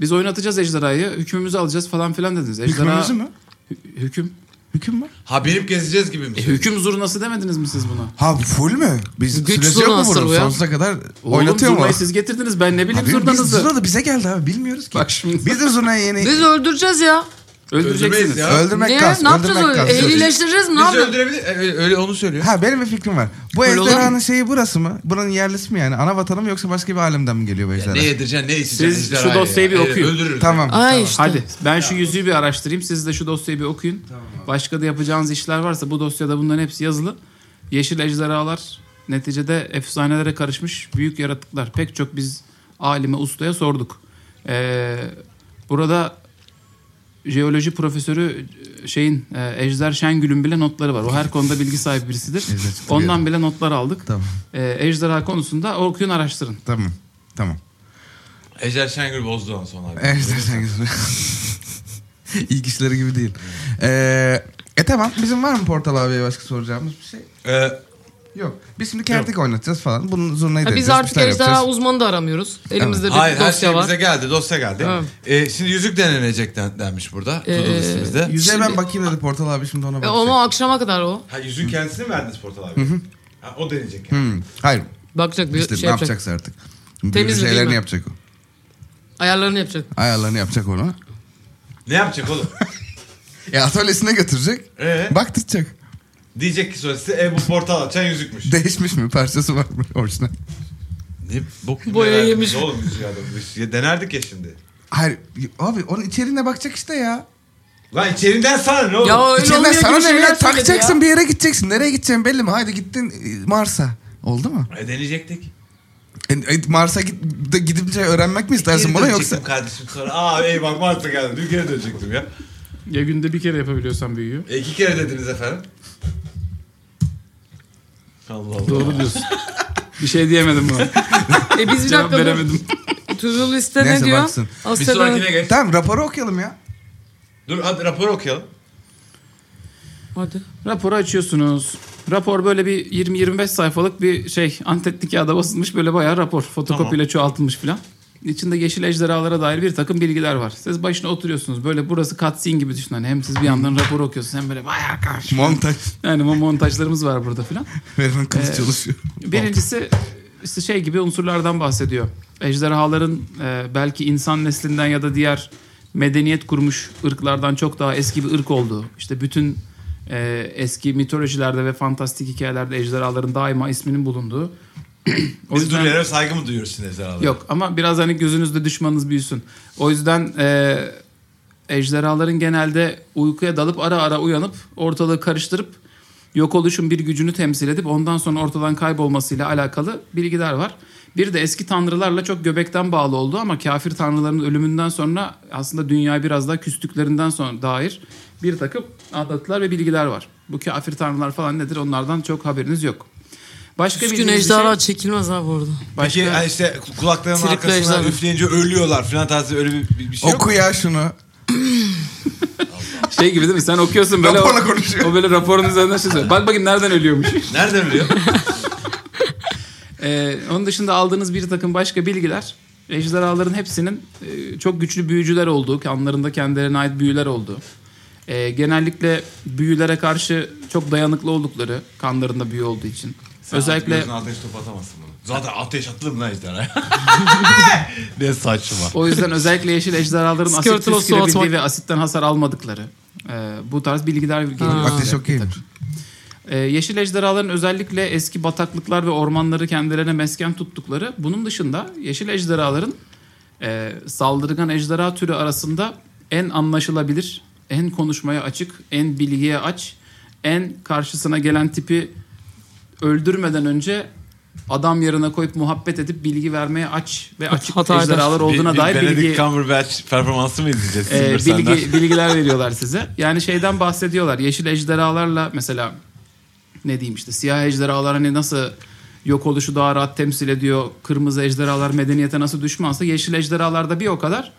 S1: Biz oynatacağız ejderhayı. Hükmümüzü alacağız falan filan dediniz. Ejderha...
S4: Hükmümüzü mü?
S1: Hü- hüküm.
S4: Hüküm var.
S3: Ha benim gezeceğiz gibi mi?
S1: E, hüküm zurnası demediniz mi siz buna?
S4: Ha full mü? Biz
S5: Güç
S4: süresi yok mu
S5: zurnası
S4: bunun?
S5: bu ya.
S4: Sonsuza kadar
S1: Oğlum,
S4: oynatıyor mu?
S1: zurnayı siz getirdiniz. Ben ne bileyim
S4: Abi, biz
S1: zurnanızı.
S4: zurna da bize geldi abi bilmiyoruz ki.
S1: Bak şimdi.
S4: Biz de zurnayı yeni
S5: Biz öldüreceğiz ya.
S1: Öldüreceksiniz.
S3: Öldürmeyiz ya.
S4: öldürmek
S5: Niye?
S4: kas.
S5: ne yapacağız
S4: öldürmek
S5: öyle?
S4: kas.
S5: Ehlileştireceğiz mi? Ne
S3: Bizi
S5: yapacağız?
S3: öldürebilir. e, Öyle, öyle onu söylüyor.
S4: Ha benim bir fikrim var. Bu
S5: Öyle olur
S4: ejderhanın
S5: mu?
S4: şeyi burası mı? Buranın yerlisi mi yani? Ana vatanı mı yoksa başka bir alemden mi geliyor bu ejderha?
S3: Ne yedireceksin ne içeceksin
S1: Siz şu
S3: ejderhayı ya.
S1: dosyayı bir
S3: Evet,
S1: okuyun.
S3: Öldürürüz.
S4: Tamam.
S5: Ay işte.
S1: Hadi ben şu yüzüğü bir araştırayım. Siz de şu dosyayı bir okuyun. Başka da yapacağınız işler varsa bu dosyada bunların hepsi yazılı. Yeşil ejderhalar neticede efsanelere karışmış büyük yaratıklar. Pek çok biz alime, ustaya sorduk. Ee, burada jeoloji profesörü e, şeyin e, Ejder Şengül'ün bile notları var. O her konuda bilgi sahibi birisidir.
S4: Ejder çıktı
S1: Ondan
S4: bir
S1: bile notlar aldık.
S4: Tamam.
S1: Ee, ejderha konusunda okuyun araştırın.
S4: Tamam. Tamam.
S3: Ejder Şengül Bozdoğan son abi.
S4: Ejderha sen gitme. İlk işleri gibi değil. Ee, e tamam. Bizim var mı Portal abiye başka soracağımız bir şey?
S3: Ee,
S4: Yok. Biz şimdi kertik oynatacağız falan. Bunun zurnayı
S5: Ha,
S4: deneyeceğiz.
S5: biz
S4: bir
S5: artık
S4: şeyler
S5: ejderha
S4: yapacağız.
S5: uzmanı da aramıyoruz. Elimizde bir
S3: hayır her
S5: dosya
S3: şey
S5: var.
S3: bize geldi. Dosya geldi.
S5: Evet.
S3: Ee, şimdi yüzük denenecek den- denmiş burada.
S5: Ee,
S3: Ee, listemizde.
S4: Yüzeye ben
S5: Şimdi-
S4: bakayım dedi Portal abi şimdi ona
S5: E,
S4: bakacak.
S5: onu akşama kadar o.
S3: Ha yüzüğün kendisini mi verdiniz Portal abi? Ha, o deneyecek yani.
S4: Hmm, Hayır.
S5: Bakacak bir
S4: İşte
S5: şey
S4: ne
S5: yapacak.
S4: yapacaksa artık. Büyülü
S5: Temiz mi, değil
S4: şeylerini
S5: mi?
S4: yapacak o.
S5: Ayarlarını yapacak.
S4: Ayarlarını yapacak onu.
S3: Ne yapacak oğlum?
S4: Ya atölyesine götürecek.
S3: Ee?
S4: Baktıracak.
S3: Diyecek ki sonra size e bu portal açan yüzükmüş.
S4: Değişmiş mi? Parçası var mı orijinal?
S3: ne bok gibi
S5: Boya
S3: verdiniz
S5: yemiş.
S3: Oğlum yüzüğü adam. Biz- ya Denerdik ya şimdi.
S4: Hayır abi onun içeriğine bakacak işte ya.
S3: Lan içerinden sana ne oğlum?
S5: Ya öyle
S4: İçerinden
S5: olmuyor
S4: sana
S5: gibi
S4: ne
S5: şeyler
S4: ya?
S5: söyledi
S4: Takacaksın
S5: ya.
S4: bir yere gideceksin. Nereye gideceksin belli mi? Haydi gittin e, Mars'a. Oldu mu?
S3: E, deneyecektik.
S4: E, e, Mars'a git, de gidince öğrenmek mi istersin
S3: Geri
S4: bunu
S3: dönecektim
S4: yoksa?
S3: kardeşim sonra. Aa eyvah Mart'ta geldim. Dün geri dönecektim ya.
S1: Ya günde bir kere yapabiliyorsan büyüyor.
S3: E, iki kere dediniz efendim. Allah Allah.
S1: Doğru diyorsun. bir şey diyemedim buna.
S5: E biz bir
S1: Cevap
S5: dakika dur.
S1: veremedim.
S5: Tuzlu liste ne
S4: Neyse,
S5: diyor?
S4: baksın.
S3: Bir
S5: Aslında-
S3: sonrakine geç.
S4: Tamam raporu okuyalım ya.
S3: Dur hadi raporu okuyalım.
S5: Hadi.
S1: Raporu açıyorsunuz. Rapor böyle bir 20-25 sayfalık bir şey antetli kağıda basılmış böyle bayağı rapor. Fotokopiyle çoğaltılmış filan. İçinde yeşil ejderhalara dair bir takım bilgiler var. Siz başına oturuyorsunuz. Böyle burası cutscene gibi düşünün. Hani hem siz bir yandan rapor okuyorsunuz hem böyle bayağı karşı.
S4: Montaj.
S1: Yani bu montajlarımız var burada filan.
S4: Verilen kılıç
S1: Ee,
S4: çalışıyor.
S1: Birincisi işte şey gibi unsurlardan bahsediyor. Ejderhaların e, belki insan neslinden ya da diğer medeniyet kurmuş ırklardan çok daha eski bir ırk olduğu. İşte bütün e, eski mitolojilerde ve fantastik hikayelerde ejderhaların daima isminin bulunduğu. O
S3: Biz
S1: yüzden-
S3: Duriye'lere saygı mı duyuyoruz şimdi ejderhalara?
S1: Yok ama biraz hani gözünüzde düşmanınız büyüsün. O yüzden e, ejderhaların genelde uykuya dalıp ara ara uyanıp ortalığı karıştırıp yok oluşun bir gücünü temsil edip ondan sonra ortadan kaybolmasıyla alakalı bilgiler var. Bir de eski tanrılarla çok göbekten bağlı oldu ama kafir tanrıların ölümünden sonra aslında dünya biraz daha küstüklerinden sonra dair bir takım anlatılar ve bilgiler var. Bu kafir tanrılar falan nedir onlardan çok haberiniz yok. Başka
S5: Üç gün
S1: bildiğiniz bir şey-
S5: ejderha çekilmez ha bu arada.
S3: Peki
S1: başka-
S3: yani işte kulaklarının
S5: Tripler
S3: arkasına
S5: ejderha.
S3: üfleyince ölüyorlar falan tarzı öyle bir, bir, bir şey yok.
S4: Oku ya şunu.
S1: Şey gibi değil mi? Sen okuyorsun böyle.
S4: Raporla
S1: o-
S4: konuşuyor.
S1: O böyle raporun üzerinden şey söylüyor. Bak bakayım nereden ölüyormuş.
S3: Nereden ölüyor?
S1: Ee, onun dışında aldığınız bir takım başka bilgiler. Ejderhaların hepsinin e, çok güçlü büyücüler olduğu, kanlarında kendilerine ait büyüler olduğu. e, genellikle büyülere karşı çok dayanıklı oldukları, kanlarında büyü olduğu için. Özellikle
S3: Gözün altına hiç top atamazsın bunu. Zaten ateş atılır mı lan ejderha? ne saçma.
S1: O yüzden özellikle yeşil ejderhaların asit
S5: Skirtle
S1: püskürebildiği
S5: soğutmak.
S1: ve asitten hasar almadıkları. e, bu tarz bilgiler geliyor.
S4: Ateş okuyayım.
S1: Ee, yeşil ejderhaların özellikle eski bataklıklar ve ormanları kendilerine mesken tuttukları, bunun dışında yeşil ejderhaların e, saldırgan ejderha türü arasında en anlaşılabilir, en konuşmaya açık, en bilgiye aç, en karşısına gelen tipi öldürmeden önce adam yerine koyup muhabbet edip bilgi vermeye aç ve açık
S5: Hata eder.
S1: ejderhalar olduğuna
S3: bir, bir
S1: dair
S3: Benedict
S1: bilgi
S3: Cumberbatch performansı mı izleyeceğiz?
S1: e,
S3: Silver Sand'den?
S1: bilgi bilgiler veriyorlar size. Yani şeyden bahsediyorlar. Yeşil ejderhalarla mesela ne diyeyim işte siyah ejderhalar hani nasıl yok oluşu daha rahat temsil ediyor. Kırmızı ejderhalar medeniyete nasıl düşmansa yeşil ejderhalar da bir o kadar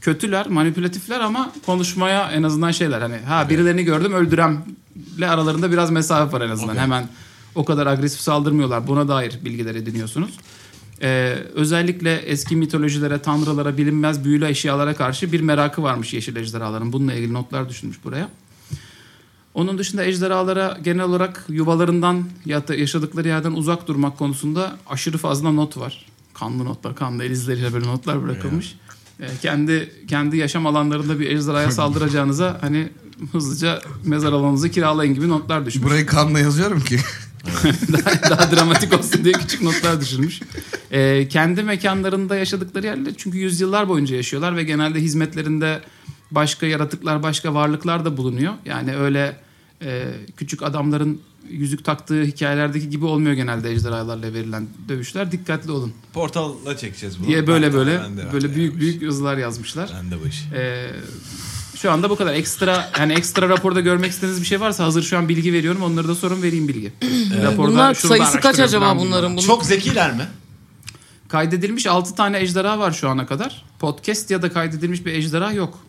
S1: kötüler, manipülatifler ama konuşmaya en azından şeyler hani ha birilerini gördüm öldüremle aralarında biraz mesafe var en azından.
S3: Okey.
S1: Hemen o kadar agresif saldırmıyorlar. Buna dair bilgiler ediniyorsunuz. Ee, özellikle eski mitolojilere, tanrılara, bilinmez büyülü eşyalara karşı bir merakı varmış yeşil ejderhaların. Bununla ilgili notlar düşünmüş buraya. Onun dışında ejderhalara genel olarak yuvalarından ya da yaşadıkları yerden uzak durmak konusunda aşırı fazla not var. Kanlı notlar, kanlı el izleriyle böyle notlar bırakılmış. Ee, kendi kendi yaşam alanlarında bir ejderhaya saldıracağınıza hani hızlıca mezar alanınızı kiralayın gibi notlar düşmüş.
S4: Burayı kanla yazıyorum ki.
S1: daha, daha dramatik olsun diye küçük notlar düşürmüş. Ee, kendi mekanlarında yaşadıkları yerler çünkü yüzyıllar boyunca yaşıyorlar ve genelde hizmetlerinde başka yaratıklar, başka varlıklar da bulunuyor. Yani öyle e, küçük adamların yüzük taktığı hikayelerdeki gibi olmuyor genelde ejderhalarla verilen dövüşler. Dikkatli olun
S3: Portalla çekeceğiz bunu.
S1: diye böyle böyle
S3: Ben de- ben de
S1: böyle büyük
S3: yapmış.
S1: büyük yazılar yazmışlar.
S3: Ben de bu işi.
S1: Ee, şu anda bu kadar. Ekstra yani ekstra raporda görmek istediğiniz bir şey varsa hazır şu an bilgi veriyorum. Onları da sorun vereyim bilgi. Raporda
S5: Bunlar
S1: şunu da
S5: sayısı kaç
S1: araştırın,
S5: acaba
S1: ben bunu-
S5: bunların? Bunun-
S3: Çok zekiler mi?
S1: Kaydedilmiş 6 tane ejderha var şu ana kadar. Podcast ya da kaydedilmiş bir ejderha yok.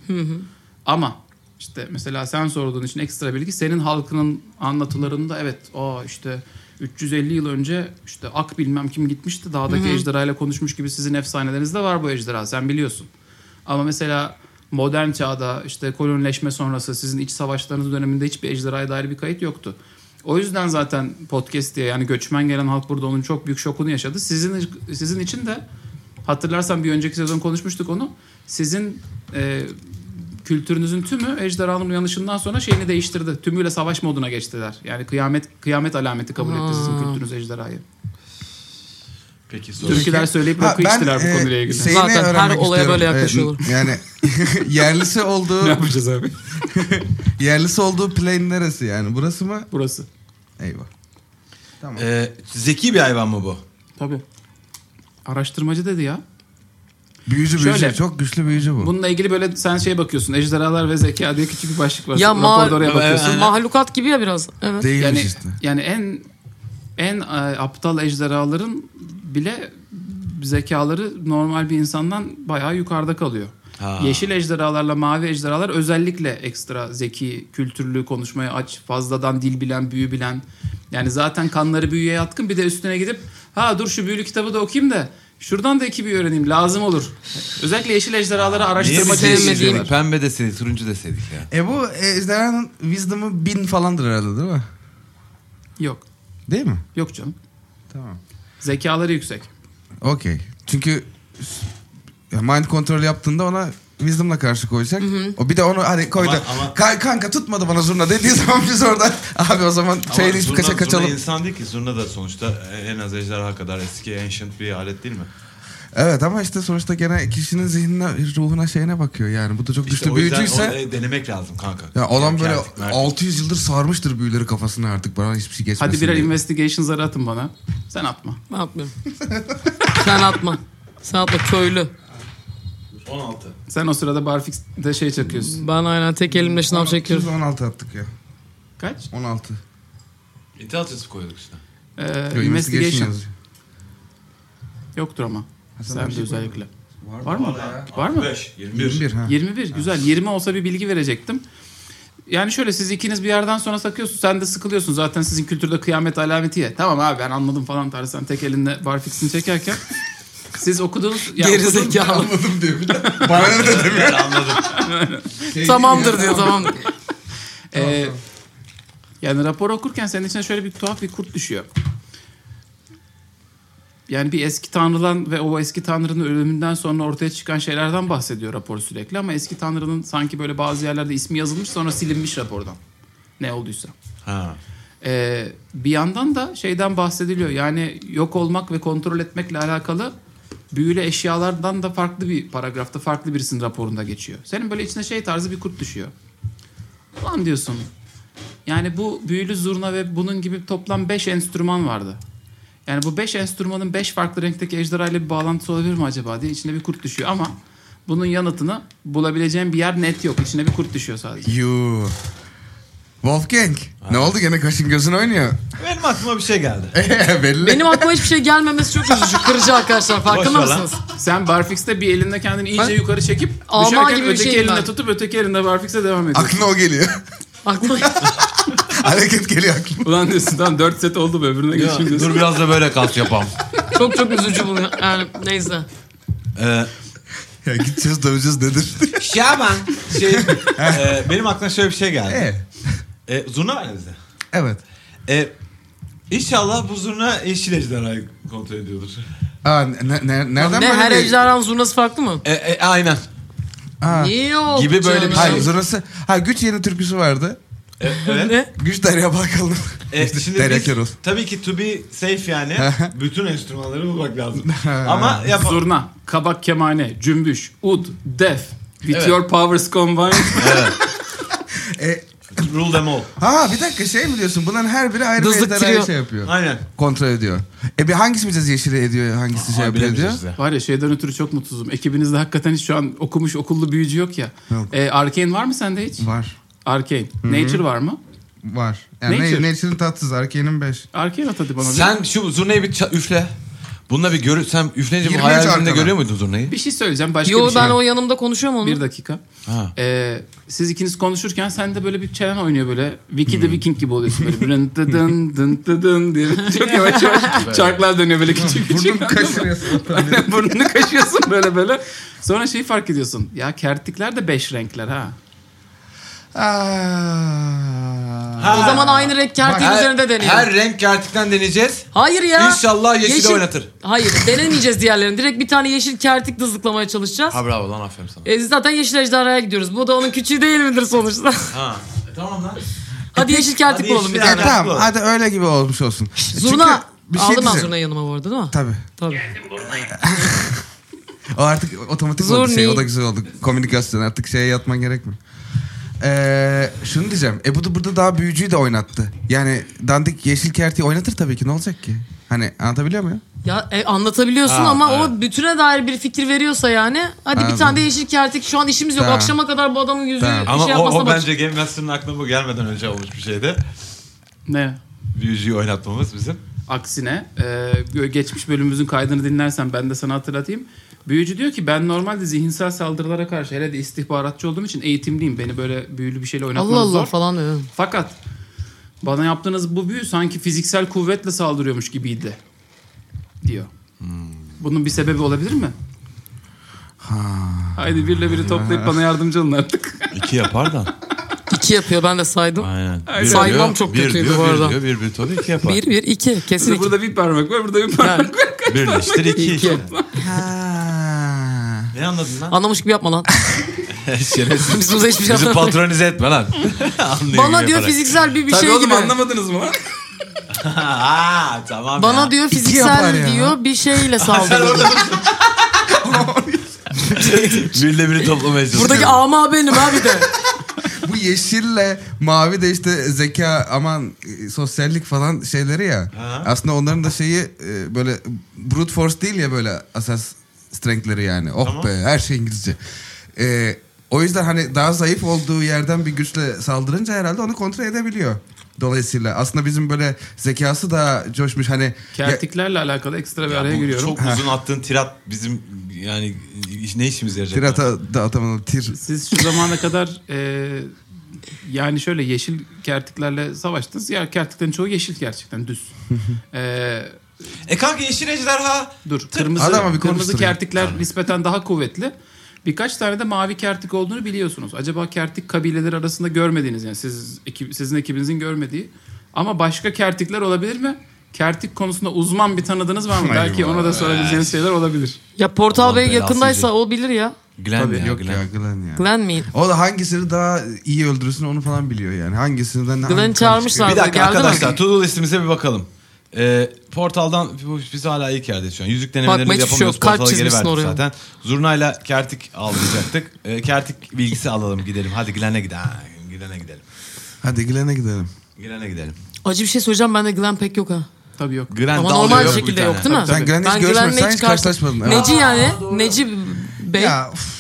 S1: Ama işte mesela sen sorduğun için ekstra bilgi senin halkının anlatılarında evet o işte 350 yıl önce işte ak bilmem kim gitmişti dağdaki ejderhayla konuşmuş gibi sizin efsanelerinizde var bu ejderha sen biliyorsun. Ama mesela modern çağda işte kolonileşme sonrası sizin iç savaşlarınız döneminde hiçbir ejderhaya dair bir kayıt yoktu. O yüzden zaten podcast diye yani göçmen gelen halk burada onun çok büyük şokunu yaşadı. Sizin sizin için de hatırlarsan bir önceki sezon konuşmuştuk onu. Sizin e, kültürünüzün tümü ejderhanın uyanışından sonra şeyini değiştirdi. Tümüyle savaş moduna geçtiler. Yani kıyamet kıyamet alameti kabul etti sizin
S5: Ha.
S1: kültürünüz ejderhayı.
S3: Peki soru.
S1: Türküler söyleyip
S4: Ha,
S1: rakı içtiler bu
S4: e,
S1: konuyla ilgili.
S4: şeyini
S5: Zaten her
S4: öğrenmek
S5: olaya
S4: istiyorum.
S5: böyle
S4: E,
S5: yaklaşıyorlar.
S4: yani yerlisi olduğu
S1: yapacağız abi?
S4: yerlisi olduğu plane neresi yani? Burası mı?
S1: Burası.
S4: Eyvah. Tamam.
S3: Ee, zeki bir hayvan mı bu?
S1: Tabii. Araştırmacı dedi ya.
S4: büyücü büyücü.
S1: şöyle.
S4: Çok güçlü büyücü bu.
S1: Bununla ilgili böyle sen şey bakıyorsun. Ejderhalar ve zeka diye küçük bir başlık var.
S5: Ya ma-
S1: Raporda oraya bakıyorsun.
S3: Aynen.
S5: Mahlukat gibi ya biraz. Evet.
S4: Değilmiş
S1: Yani
S4: işte.
S1: yani en en e, aptal ejderhaların bile zekaları normal bir insandan bayağı yukarıda kalıyor.
S3: Ha.
S1: Yeşil ejderhalarla mavi ejderhalar özellikle ekstra zeki, kültürlü, konuşmaya aç, fazladan dil bilen, büyü bilen. Yani zaten kanları büyüye yatkın bir de üstüne gidip ha dur şu büyülü kitabı da okuyayım da şuradan da iki büyü öğreneyim lazım olur. Özellikle yeşil ejderhaları
S3: Niye
S1: araştırma
S3: biz
S5: sevmediğim-
S3: sevmediğim? Pembe deseydik, turuncu deseydik ya.
S4: E bu ejderhanın wisdom'ı bin falandır herhalde değil mi?
S1: Yok.
S4: Değil mi?
S1: Yok canım.
S4: Tamam.
S1: Zekaları yüksek.
S4: Okey. Çünkü ya mind kontrol yaptığında ona wisdom'la karşı koyacak. O bir de onu hani koydu.
S3: Ama- ama-
S4: "Ka- kanka tutmadı bana zurna dediği zaman biz oradan abi o zaman şey
S3: Ama
S4: deyip
S3: zurna-
S4: kaça kaçalım.
S3: Zurna insan değil ki. Zurna da sonuçta e, en az ejderha kadar eski ancient bir alet değil mi?
S4: Evet ama işte sonuçta gene kişinin zihnine, ruhuna şeyine bakıyor yani. Bu da çok
S3: İşte
S4: güçlü
S3: o yüzden
S4: büyücüyse.
S3: onu denemek lazım kanka.
S4: Ya adam böyle
S3: Kertik, mertik.
S4: 600 yıldır sarmıştır büyüleri kafasına artık bana hiçbir şey geçmesin.
S1: Hadi birer
S4: diye.
S1: investigation zarı atın bana. Sen atma.
S5: Ben atmıyorum. Sen atma. Sen atma köylü.
S3: 16.
S1: Sen o sırada barfix'te şey çakıyorsun.
S5: Ben aynen tek elimle şınav çekiyorum.
S4: 16 attık ya.
S1: Kaç?
S4: 16.
S3: İntelligence koyduk işte.
S1: Ee,
S4: Yo,
S1: investigation.
S4: yazıyor.
S1: Yoktur ama. Sen
S4: bir
S1: de
S4: şey
S1: özellikle. Var mı? Var mı?
S3: 5, 21.
S4: 21 ha.
S1: 21. Güzel. 20 olsa bir bilgi verecektim. Yani şöyle siz ikiniz bir yerden sonra sakıyorsun. Sen de sıkılıyorsun. Zaten sizin kültürde kıyamet alameti ya. Tamam abi ben anladım falan tarzı. Sen tek elinle barfix'ini çekerken. Siz okuduğunuz... ya
S5: Geri
S1: okuduğunuz-
S5: zekalı.
S4: Anladım diyor bir de. Bana şey ne de demiyor. Anladım.
S5: Tamamdır diyor tamamdır.
S1: Ee, yani rapor okurken senin içine şöyle bir tuhaf bir kurt düşüyor. Yani bir eski tanrıdan ve o eski tanrının ölümünden sonra ortaya çıkan şeylerden bahsediyor rapor sürekli ama eski tanrının sanki böyle bazı yerlerde ismi yazılmış sonra silinmiş rapordan. Ne olduysa.
S3: Ha.
S1: Ee, bir yandan da şeyden bahsediliyor. Yani yok olmak ve kontrol etmekle alakalı büyülü eşyalardan da farklı bir paragrafta farklı birisinin raporunda geçiyor. Senin böyle içine şey tarzı bir kurt düşüyor. Ulan diyorsun. Yani bu büyülü zurna ve bunun gibi toplam 5 enstrüman vardı. Yani bu 5 enstrümanın 5 farklı renkteki ejderha ile bir bağlantısı olabilir mi acaba diye içine bir kurt düşüyor ama bunun yanıtını bulabileceğim bir yer net yok. İçine bir kurt düşüyor sadece.
S4: You. Wolfgang. Ne oldu gene kaşın gözün oynuyor.
S6: Benim aklıma bir şey geldi.
S4: Belli.
S5: Benim aklıma hiçbir şey gelmemesi çok üzücü. Kırıcı arkadaşlar farkında
S6: Boş ver lan.
S5: mısınız?
S1: Sen barfix'te bir elinde kendini iyice
S4: Ben-
S1: yukarı çekip
S5: Alman
S1: düşerken
S5: gibi bir
S1: öteki
S5: şeyim
S1: elinde
S5: ben.
S1: tutup öteki elinde barfix'e devam ediyorsun.
S4: Aklına o geliyor.
S5: Aklıma...
S4: Hareket geliyor aklına.
S1: Ulan diyorsun tamam 4 set oldu be öbürüne
S3: Ya,
S1: geçeyim diyorsun.
S3: dur biraz da böyle kas yapam.
S5: çok çok üzücü bunu. Yani neyse.
S6: Ee,
S4: Ya gideceğiz döveceğiz nedir?
S6: Şaban. Şey, e, benim aklıma şöyle bir şey geldi.
S4: evet.
S6: E, zurna var ya bizde.
S4: Evet.
S6: E, inşallah bu zurna yeşil ejderhayı kontrol ediyordur.
S4: Aa, ne, ne- nereden
S5: Ne
S4: böyle
S5: her
S4: bir-
S5: ejderhanın zurnası farklı mı?
S3: E, e, aynen.
S4: Aa,
S5: Yok
S3: Gibi böyle
S5: canım.
S3: bir
S4: Hayır
S1: şey.
S4: zurnası. Ha güç yeni türküsü vardı.
S6: E, evet.
S5: Ne?
S4: Güç derya bakalım.
S6: E, şimdi
S4: Derya
S6: biz,
S4: Kerol.
S6: tabii ki to be safe yani bütün enstrümanları bulmak lazım. Ama yap
S1: Zurna, kabak kemane, cümbüş, ud, def. With your powers combined.
S4: E,
S6: rule them all.
S4: ha bir dakika şey mi diyorsun? Bunların her biri ayrı bir
S5: Dızlık
S4: ejderhayı
S5: trio.
S4: şey yapıyor.
S6: Aynen.
S4: Kontrol ediyor. E bir hangisi bize yeşil ediyor, hangisi şey yapıyor diyor.
S6: Bilemeyeceğiz de.
S1: Var ya şeyden ötürü çok mutsuzum. Ekibinizde hakikaten hiç şu an okumuş okullu büyücü yok ya.
S4: Yok.
S1: E, Arcane var mı sende hiç?
S4: Var.
S1: Arcane. Nature var mı?
S4: Var. Yani
S1: Nature.
S4: Nature. Nature'ın tatsız, Arcane'in 5.
S1: Arcane at hadi bana. bir.
S3: Sen şu zurnayı bir ça- üfle. Bununla bir görür. Sen üfleyince bu
S4: 23
S3: hayalinde
S4: arkana.
S3: görüyor muydun zurnayı?
S1: Bir şey söyleyeceğim. Başka
S5: Yo
S1: bir şey.
S5: ben o yanımda konuşuyorum onu.
S1: Bir dakika.
S3: Ha.
S1: E, siz ikiniz konuşurken sen de böyle bir çelen oynuyor böyle. Wiki the Viking gibi oluyorsun böyle. Dın dı dın dın dı dın diye. Çok yavaş yavaş çarklar dönüyor böyle küçük küçük.
S4: Burnum kaşırıyorsun.
S1: Burnunu kaşıyorsun böyle böyle. Sonra şeyi fark ediyorsun. Ya kertikler de beş renkler ha.
S4: Aa.
S5: O zaman aynı renk kertiğin
S3: Her,
S5: üzerinde deneyelim.
S3: her renk gerçekten deneyeceğiz.
S5: Hayır ya.
S3: İnşallah yeşili oynatır.
S5: Hayır denemeyeceğiz diğerlerini. Direkt bir tane yeşil kertik dızlıklamaya çalışacağız.
S3: Ha bravo lan aferin sana.
S5: E, zaten yeşil ejderhaya gidiyoruz. Bu da onun küçüğü değil midir sonuçta?
S6: Ha. E, tamam lan.
S5: hadi yeşil kertik
S6: Hadi
S5: bulalım
S6: yeşil
S5: bir
S6: kertik.
S5: tane.
S4: E, tamam
S6: Aynen.
S4: hadi öyle gibi olmuş olsun.
S5: Zurna.
S4: Çünkü bir şey
S5: Aldım ben
S4: diyeceğim.
S5: zurnayı yanıma bu arada değil mi?
S4: Tabii.
S5: Tabii.
S4: O artık otomatik oldu
S5: Zurni.
S4: şey. O da güzel oldu. Komünikasyon artık şeye yatman gerekmiyor. Ee, şunu diyeceğim. E bu da burada daha büyücüyü de oynattı. Yani dandik yeşil kerti oynatır tabii ki. Ne olacak ki? Hani anlatabiliyor muyum?
S5: Ya e, anlatabiliyorsun ama o bütüne dair bir fikir veriyorsa yani. Hadi
S4: Anladım.
S5: bir tane de yeşil kertik. Şu an işimiz yok.
S4: Tamam.
S5: Akşama kadar bu adamın yüzü
S4: Tamam.
S5: şey
S6: Ama o,
S5: yapmasına
S6: o
S5: bak.
S6: bence Game Master'ın aklına bu gelmeden önce olmuş bir şeydi.
S1: Ne?
S6: Büyücüyü oynatmamız bizim.
S1: Aksine e, geçmiş bölümümüzün kaydını dinlersen ben de sana hatırlatayım. Büyücü diyor ki ben normalde zihinsel saldırılara karşı hele de istihbaratçı olduğum için eğitimliyim. Beni böyle büyülü bir şeyle oynatmanız
S5: Allah Allah
S1: zor.
S5: falan diyor.
S1: Fakat bana yaptığınız bu büyü sanki fiziksel kuvvetle saldırıyormuş gibiydi diyor. Bunun bir sebebi olabilir mi? Haydi birle biri toplayıp bana yardımcı olun artık.
S3: İki yapar da.
S5: İki yapıyor ben de saydım.
S3: Aynen.
S5: Saymam çok
S3: bir
S5: kötüydü
S3: diyor,
S5: bu arada.
S3: Bir diyor, bir, bir tabii iki yapar.
S5: Bir bir iki kesin
S1: Burada,
S5: iki.
S1: burada bir parmak var, burada bir parmak var.
S6: Birleştir iki.
S5: İki.
S4: Ha.
S6: Ne anladın lan?
S5: Anlamış gibi yapma lan.
S3: Şerefsiz.
S5: Biz burada hiçbir şey
S3: Bizi
S5: anlamadık.
S3: patronize etme lan. Anlıyor
S5: Bana
S3: gibi
S5: diyor
S3: yaparak.
S5: fiziksel bir bir
S1: Tabii
S5: şey
S1: oğlum
S5: gibi.
S1: anlamadınız mı lan?
S6: Ha, tamam
S5: Bana
S6: ya.
S5: diyor
S4: yapar
S5: fiziksel
S4: ya.
S5: diyor bir şeyle saldırıyor.
S3: Birle biri toplamaya çalışıyor.
S5: Buradaki ama benim ha bir de.
S4: Bu yeşille mavi de işte zeka aman e, sosyallik falan şeyleri ya.
S6: Ha.
S4: Aslında onların da şeyi e, böyle brute force değil ya böyle asas strength'leri yani. Oh
S6: Tamam.
S4: be her şey İngilizce. E, o yüzden hani daha zayıf olduğu yerden bir güçle saldırınca herhalde onu kontrol edebiliyor. Dolayısıyla aslında bizim böyle zekası da coşmuş hani ya-
S1: Kertiklerle alakalı ekstra bir
S6: Ya
S1: araya
S6: bu
S1: giriyorum.
S6: Çok uzun attığın tirat bizim yani iş- ne işimize yarayacak?
S4: tirata da atamadım tir.
S1: Siz şu zamana kadar e, yani şöyle yeşil kertiklerle savaştınız. Ya kertiklerin çoğu yeşil gerçekten düz. E,
S6: E kanka yeşil ejderha.
S1: dur kırmızı
S4: Adama bir
S1: kırmızı
S4: konuşturun.
S1: kertikler nispeten daha kuvvetli. Birkaç tane de mavi kertik olduğunu biliyorsunuz. Acaba kertik kabileleri arasında görmediğiniz yani siz ekip, sizin ekibinizin görmediği ama başka kertikler olabilir mi? Kertik konusunda uzman bir tanıdığınız var mı?
S4: Hayır
S1: Belki
S4: be.
S1: ona da sorabileceğiniz şeyler olabilir.
S5: Ya Portal
S3: Allah
S5: Bey
S3: belasını
S5: yakındaysa
S3: verecek.
S5: o bilir ya.
S3: Glenn
S1: Tabii,
S3: ya,
S4: Yok
S3: Glenn.
S4: ya Glenn ya.
S5: Glenn mi?
S4: O da hangisini daha iyi öldürürsün onu falan biliyor yani. Hangisinden hangi kan
S5: Glenn'i
S4: çıkıyor.
S5: çağırmışlar.
S6: Bir dakika
S5: Geldi mi?
S6: arkadaşlar to do listimize bir bakalım. E, portaldan bu- biz hala ilk yerdeyiz şu an. Yüzük denemelerini
S5: Bakma hiçbir şey
S6: yapamıyoruz.
S5: yok. Kalp
S6: Portala geri
S5: çizmişsin
S6: verdik
S5: oraya.
S6: zaten. Zurnayla kertik alacaktık. E, kertik bilgisi alalım gidelim. Hadi Glenn'e gidelim. Ha, Glenn'e gidelim.
S4: Hadi Glenn'e gidelim.
S6: Glenn'e gidelim.
S5: Acı bir şey söyleyeceğim bende Glenn pek yok ha.
S1: Tabii yok.
S6: Grand
S5: Ama
S6: Dal
S5: normal
S6: yok bir
S5: şekilde
S6: tane.
S5: yok değil mi?
S4: Sen Glen'le hiç
S5: Ben
S4: görüşmedin.
S5: Glen'le
S4: Sen
S5: hiç
S4: hiç
S5: karşı-
S4: karşılaşmadın. Evet.
S5: Neci yani? Neci Bey.
S4: Ya, uf,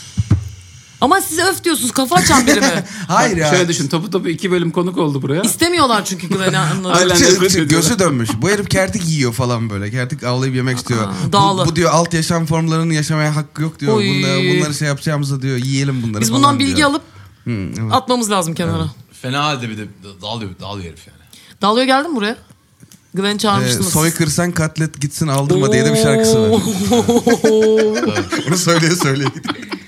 S5: Ama siz öf diyorsunuz kafa açan biri mi?
S4: hayır ya.
S1: Şöyle düşün topu topu iki bölüm konuk oldu buraya.
S5: İstemiyorlar çünkü Glen'i anladın.
S1: Aynen.
S4: Çı-
S1: nefret
S4: çı-
S1: ediyorlar.
S4: Göğsü dönmüş. Bu herif kertik yiyor falan böyle. Kertik avlayıp yemek istiyor.
S5: Aa,
S4: bu,
S5: dağlı.
S4: bu diyor alt yaşam formlarını yaşamaya hakkı yok diyor.
S5: Oy.
S4: Bunda, bunları şey yapacağımızı diyor. Yiyelim bunları
S5: Biz
S4: falan
S5: bundan bilgi
S4: diyor.
S5: alıp
S4: Hı, evet.
S5: atmamız lazım kenara.
S3: Fena halde bir de dalıyor, dalıyor herif yani.
S5: Dalıyor geldin mi buraya? Glen'i
S4: Ee,
S5: çağırmıştınız.
S4: soy kırsan katlet gitsin aldırma diye de bir şarkısı var. Onu söyleye söyleye.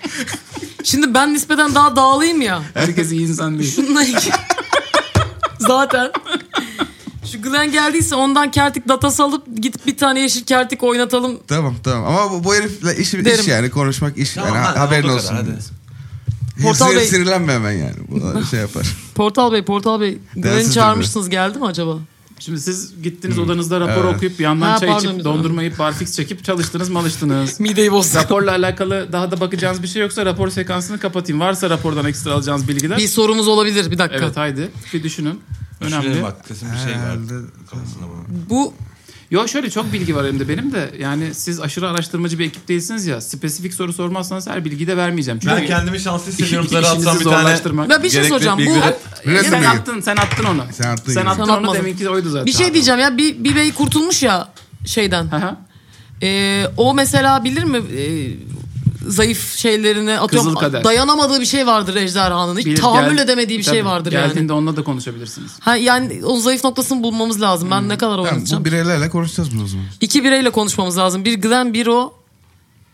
S5: Şimdi ben nispeten daha dağlıyım ya.
S1: Herkes iyi insan değil.
S5: Şununla iki- Zaten. Şu Glen geldiyse ondan kertik datası alıp gidip bir tane yeşil kertik oynatalım.
S4: tamam tamam. Ama bu, bu herifle iş, iş
S5: Derim.
S4: yani konuşmak iş.
S3: Tamam,
S4: yani, ha-
S3: hadi,
S4: haberin
S3: oldu
S4: olsun.
S3: kadar, hadi.
S4: Hepsi-
S5: Portal Bey-
S4: sinirlenme hemen yani. Bu şey yapar.
S5: Portal Bey, Portal Bey.
S4: Densizdir
S5: Glen'i çağırmışsınız geldi mi acaba?
S1: Şimdi siz gittiniz
S4: Hmm.
S1: odanızda rapor okuyup bir yandan
S5: Ha,
S1: çay
S5: pardon,
S1: içip
S5: biz-
S1: dondurma yiyip barfix çekip çalıştınız malıştınız.
S5: Mideyi bozdu.
S1: Raporla alakalı daha da bakacağınız bir şey yoksa rapor sekansını kapatayım. Varsa rapordan ekstra alacağınız bilgiler.
S5: Bir sorumuz olabilir bir dakika.
S1: Evet haydi bir düşünün. Önemli.
S3: Önemli. Bak kesin bir şey
S4: Herhalde.
S3: var kafasında bunun.
S5: Bu
S1: Yo şöyle çok bilgi var elimde benim de. Yani siz aşırı araştırmacı bir ekip değilsiniz ya. Spesifik soru sormazsanız her bilgiyi de vermeyeceğim. Çünkü
S6: Ben kendimi şanslı hissediyorum.
S1: işinizi
S6: Zara atsam bir tane.
S1: zorlaştırmak.
S5: ben bir şey
S6: Gerekli
S5: soracağım. Bu
S6: bilgileri-
S1: Ya
S4: Resim
S1: sen
S4: mi?
S1: attın, sen attın onu.
S4: Sen attın
S1: sen
S4: yani.
S1: attın
S5: Sen
S1: onu
S5: atmadın.
S1: deminki oydu zaten.
S5: bir şey diyeceğim ya. Bir, bir bey kurtulmuş ya şeyden.
S1: Hı hı.
S5: Ee, o mesela bilir mi Ee, zayıf şeylerini atıyorum.
S1: Kızıl kader.
S5: Dayanamadığı bir şey vardır ejderhanın. Hiç
S1: Bilir,
S5: tahammül
S1: gel-
S5: edemediği bir şey
S1: Tabii,
S5: vardır yani.
S1: Geldiğinde onunla da konuşabilirsiniz.
S5: Ha, yani onun zayıf noktasını bulmamız lazım.
S1: Hmm.
S5: Ben ne kadar
S4: Tamam,
S5: oynatacağım?
S4: bu bireylerle konuşacağız bunu o zaman.
S5: İki bireyle konuşmamız lazım. Bir Glenn, bir o.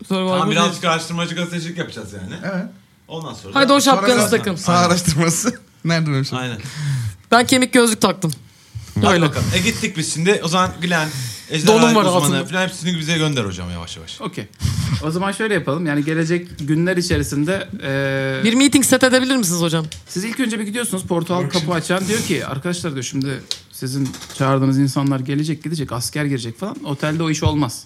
S5: Survivor
S6: Tamam
S5: bir-
S6: birazcık araştırmacı gazetecilik yapacağız yani.
S4: Evet.
S6: Ondan sonra.
S5: Haydi o şapkanızı
S4: Sonra-
S5: takın.
S4: Sağ araştırması. Nereden öyle şey?
S6: Aynen.
S5: Ben kemik gözlük taktım.
S6: Hadi
S5: Öyle.
S6: bakalım. E gittik biz şimdi. O zaman Glenn,
S5: Donum
S6: Ejderha
S5: var
S6: uzmanı
S5: altında.
S6: falan hepsini bize gönder hocam yavaş yavaş.
S1: Okey. O zaman şöyle yapalım. Yani gelecek günler içerisinde eee,
S5: Bir meeting set edebilir misiniz hocam?
S1: siz ilk önce bir gidiyorsunuz. Portal kapı açan diyor ki arkadaşlar diyor şimdi sizin çağırdığınız insanlar gelecek gidecek asker girecek falan. Otelde o iş olmaz.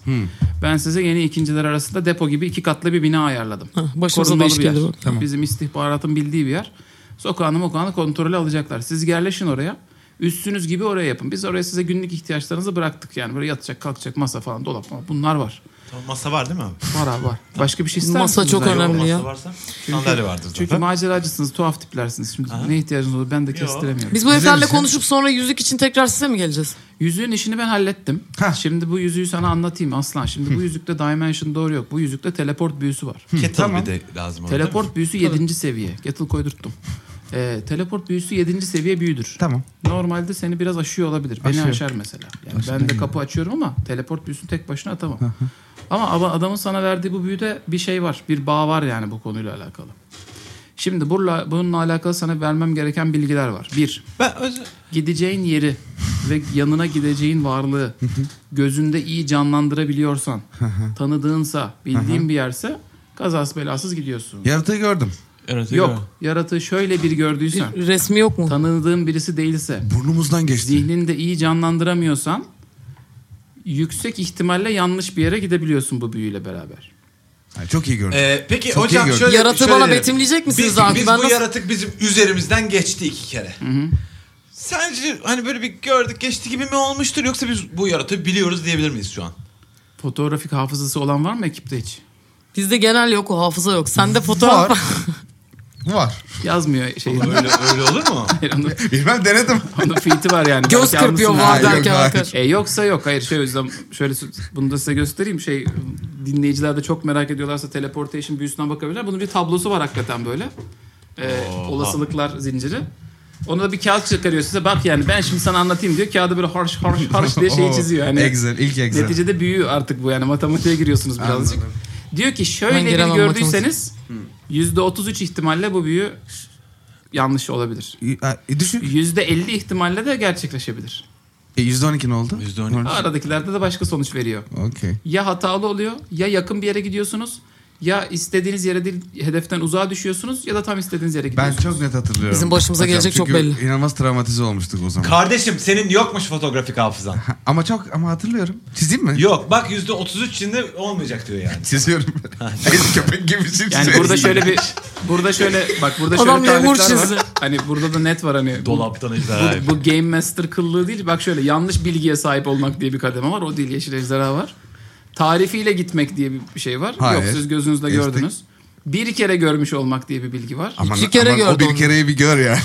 S1: Ben size yeni ikinciler arasında depo gibi iki katlı bir bina ayarladım.
S5: başımıza da
S1: Korunmalı
S5: iş
S1: bir yer.
S5: geldi bu.
S1: Bizim istihbaratın bildiği bir yer. Sokağını mokağını kontrolü alacaklar. Siz yerleşin oraya. Üstünüz gibi oraya yapın. Biz oraya size günlük ihtiyaçlarınızı bıraktık. Yani böyle yatacak, kalkacak, masa falan, dolap falan. Bunlar var.
S6: Tamam, masa var değil mi abi?
S1: Var abi var. Başka bir şey ister
S5: Masa
S1: misiniz
S5: çok
S1: daha? Yok.
S5: önemli.
S6: Masa
S5: ya.
S6: varsa sandalye vardır zaten.
S1: Çünkü maceracısınız, tuhaf tiplersiniz. Şimdi ne ihtiyacınız olur ben de kestiremiyorum.
S5: Biz bu
S4: Güzel
S5: heriflerle
S4: bir şey.
S5: konuşup sonra yüzük için tekrar size mi geleceğiz?
S1: Yüzüğün işini ben hallettim.
S4: Hah.
S1: Şimdi bu yüzüğü sana anlatayım aslan. Şimdi bu yüzükte dimension doğru yok. Bu yüzükte teleport büyüsü var.
S6: Kettle bir de lazım orada.
S1: teleport büyüsü 7. seviye. Gettle koydurttum. Ee, teleport büyüsü 7. seviye büyüdür.
S4: Tamam.
S1: Normalde seni biraz aşıyor olabilir. Beni
S4: Aşıyor.
S1: aşar mesela. Yani ben de kapı açıyorum ama teleport büyüsünü tek başına atamam. ama ama adamın sana verdiği bu büyüde bir şey var. Bir bağ var yani bu konuyla alakalı. Şimdi burla, bununla alakalı sana vermem gereken bilgiler var. Bir,
S6: Ben öz-
S1: gideceğin yeri ve yanına gideceğin varlığı gözünde iyi canlandırabiliyorsan, tanıdığınsa, bildiğin bir yerse kazas belasız gidiyorsun.
S4: Yaratığı gördüm.
S1: Yok, yaratığı şöyle bir gördüysen,
S5: Resmi yok mu?
S1: tanıdığın birisi değilse,
S4: Burnumuzdan geçti.
S1: zihnini de iyi canlandıramıyorsan yüksek ihtimalle yanlış bir yere gidebiliyorsun bu büyüyle beraber.
S4: Ha, çok iyi gördüm.
S6: e,
S3: Ee, peki
S4: Çok iyi
S3: hocam
S4: gördüm.
S3: şöyle
S5: Yaratığı
S3: şöyle
S5: bana
S3: derim.
S5: betimleyecek misiniz
S3: biz,
S5: abi?
S3: Biz
S5: Ben
S3: bu
S5: nasıl-
S3: yaratık bizim üzerimizden geçti iki kere. Sence hani böyle bir gördük geçti gibi mi olmuştur yoksa biz bu yaratığı biliyoruz diyebilir miyiz şu an?
S1: Fotoğrafik hafızası olan var mı ekipte hiç?
S5: Bizde genel yok o hafıza yok. Sende fotoğraf
S4: Var. Var.
S1: Yazmıyor şey.
S6: öyle, öyle olur mu?
S1: onun,
S4: Bilmem denedim.
S1: onun fiti var yani.
S5: göz
S1: Belki
S5: kırpıyor
S1: anlasın.
S5: var
S4: Ha, yok,
S5: derken
S4: hayır.
S5: arkadaş.
S1: E yoksa yok. Hayır şey o yüzden şöyle sö- bunu da size göstereyim. Şey dinleyiciler de çok merak ediyorlarsa teleportation büyüsünden bakabilirler. Bunun bir tablosu var hakikaten böyle. E, olasılıklar zinciri. Ona da bir kağıt çıkarıyor size. Bak yani ben şimdi sana anlatayım diyor. Kağıda böyle harş harş harş diye şey
S4: Oo,
S1: çiziyor. Yani
S4: Excel, ilk Excel.
S1: neticede büyüyor artık bu yani matematiğe giriyorsunuz birazcık.
S4: Anladım.
S1: Diyor ki
S5: Ben
S1: şöyle bir
S5: giremem
S1: gördüyseniz %33 ihtimalle bu büyü yanlış olabilir.
S4: Ha, E, düşün.
S1: %50 ihtimalle de gerçekleşebilir.
S4: E, %12 ne oldu?
S6: %12.
S1: Aradakilerde de başka sonuç veriyor.
S4: Okey.
S1: Ya hatalı oluyor ya yakın bir yere gidiyorsunuz Ya istediğiniz yere değil hedeften uzağa düşüyorsunuz ya da tam istediğiniz yere
S4: Ben
S1: gidiyorsunuz.
S4: çok net hatırlıyorum.
S5: Bizim başımıza gelecek çok
S4: çünkü
S5: belli.
S4: inanılmaz travmatize olmuştuk o zaman.
S6: Kardeşim senin yokmuş fotoğrafik hafızan.
S4: ama çok ama hatırlıyorum. Çizeyim mi?
S6: Yok bak yüzde 33 içinde olmayacak diyor yani.
S4: Çiziyorum. Eski köpek şey gibisin.
S1: Yani burada
S5: şey-
S1: şöyle bir burada şöyle bak burada şöyle
S5: Adam memur
S1: tarifler var.
S5: çizdi.
S1: Hani burada da net var hani. bu-
S6: Dolaptan ejderha.
S1: Bu, bu Game Master kıllığı değil. Bak şöyle yanlış bilgiye sahip olmak diye bir kademe var. O değil Yeşil Ejderha var. Tarifiyle gitmek diye bir- bir şey var.
S4: Hayır.
S1: Yok siz gözünüzle
S4: Geçtik.
S1: gördünüz. Bir kere görmüş olmak diye bir bilgi var.
S4: Aman,
S5: İki kere
S4: aman o
S5: gördüm
S4: bir
S5: onu.
S4: kereyi bir gör ya.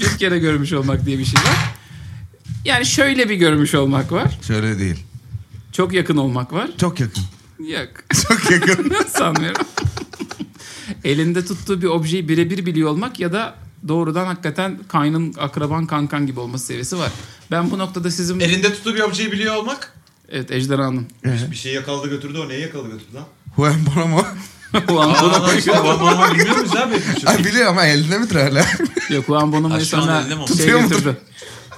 S1: bir kere görmüş olmak diye bir şey var. Yani şöyle bir görmüş olmak var.
S4: şöyle değil.
S1: Çok yakın olmak var.
S4: Çok yakın.
S1: Yok.
S4: Çok yakın.
S1: Sanmıyorum. Elinde tuttuğu bir objeyi birebir biliyor olmak ya da doğrudan hakikaten kaynın, akraban, kankan gibi olması seviyesi var. Ben bu noktada sizin...
S6: Elinde tuttuğu bir objeyi biliyor olmak.
S1: Evet Ejderhan'ın.
S6: Bir şey yakaladı götürdü o neyi yakaladı götürdü lan?
S4: Juan Bonomo.
S1: Juan Bonomo.
S6: Normal bilmiyor muyuz abi?
S4: Ay, biliyor ama elinde midir hala?
S1: Yok Juan Bonomo'yu
S3: Ha, şu an
S1: sonra
S3: elde mi?
S1: şey
S4: Tutuyor mudur?
S1: götürdü.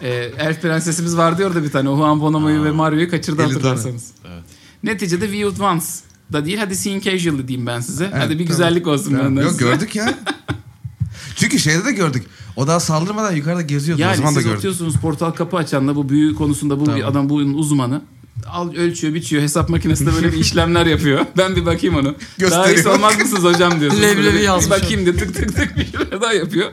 S1: Ee, Elf Prensesimiz vardı ya orada bir tane. O Juan Bonomo'yu ve Mario'yu kaçırdı
S4: Eli
S1: hatırlarsanız. Neticede We Advance da değil. Hadi Seeing Casual'ı diyeyim ben size. hadi bir
S4: tamam.
S1: güzellik olsun benden
S4: Yok
S1: size.
S4: gördük ya. Çünkü şeyde de gördük. O daha saldırmadan yukarıda geziyordu. o
S1: Yani
S4: zaman da
S1: siz
S4: gördük.
S1: atıyorsunuz portal kapı açanla bu büyü konusunda bu
S4: Tamam.
S1: bir adam bunun uzmanı. Al ölçüyor biçiyor hesap makinesinde böyle bir işlemler yapıyor. Ben bir bakayım onu. Daha
S4: Gösteriyor.
S1: iyisi olmaz mısınız hocam diyorsunuz.
S5: Leblebi
S1: Böyle bir-
S5: yazmış.
S1: Bir bakayım diyor tık tık tık bir şeyler daha yapıyor.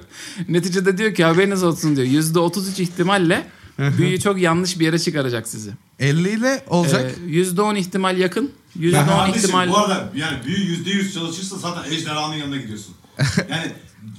S1: Neticede diyor ki haberiniz olsun diyor. Yüzde %33 ihtimalle büyüyü çok yanlış bir yere çıkaracak sizi.
S4: 50 ile olacak.
S1: Ee, Yüzde %10 ihtimal yakın. Yüzde %10
S7: Kardeşim
S1: ihtimal...
S7: bu arada yani büyü yüzde yüz çalışırsa zaten ejderhanın yanına gidiyorsun. Yani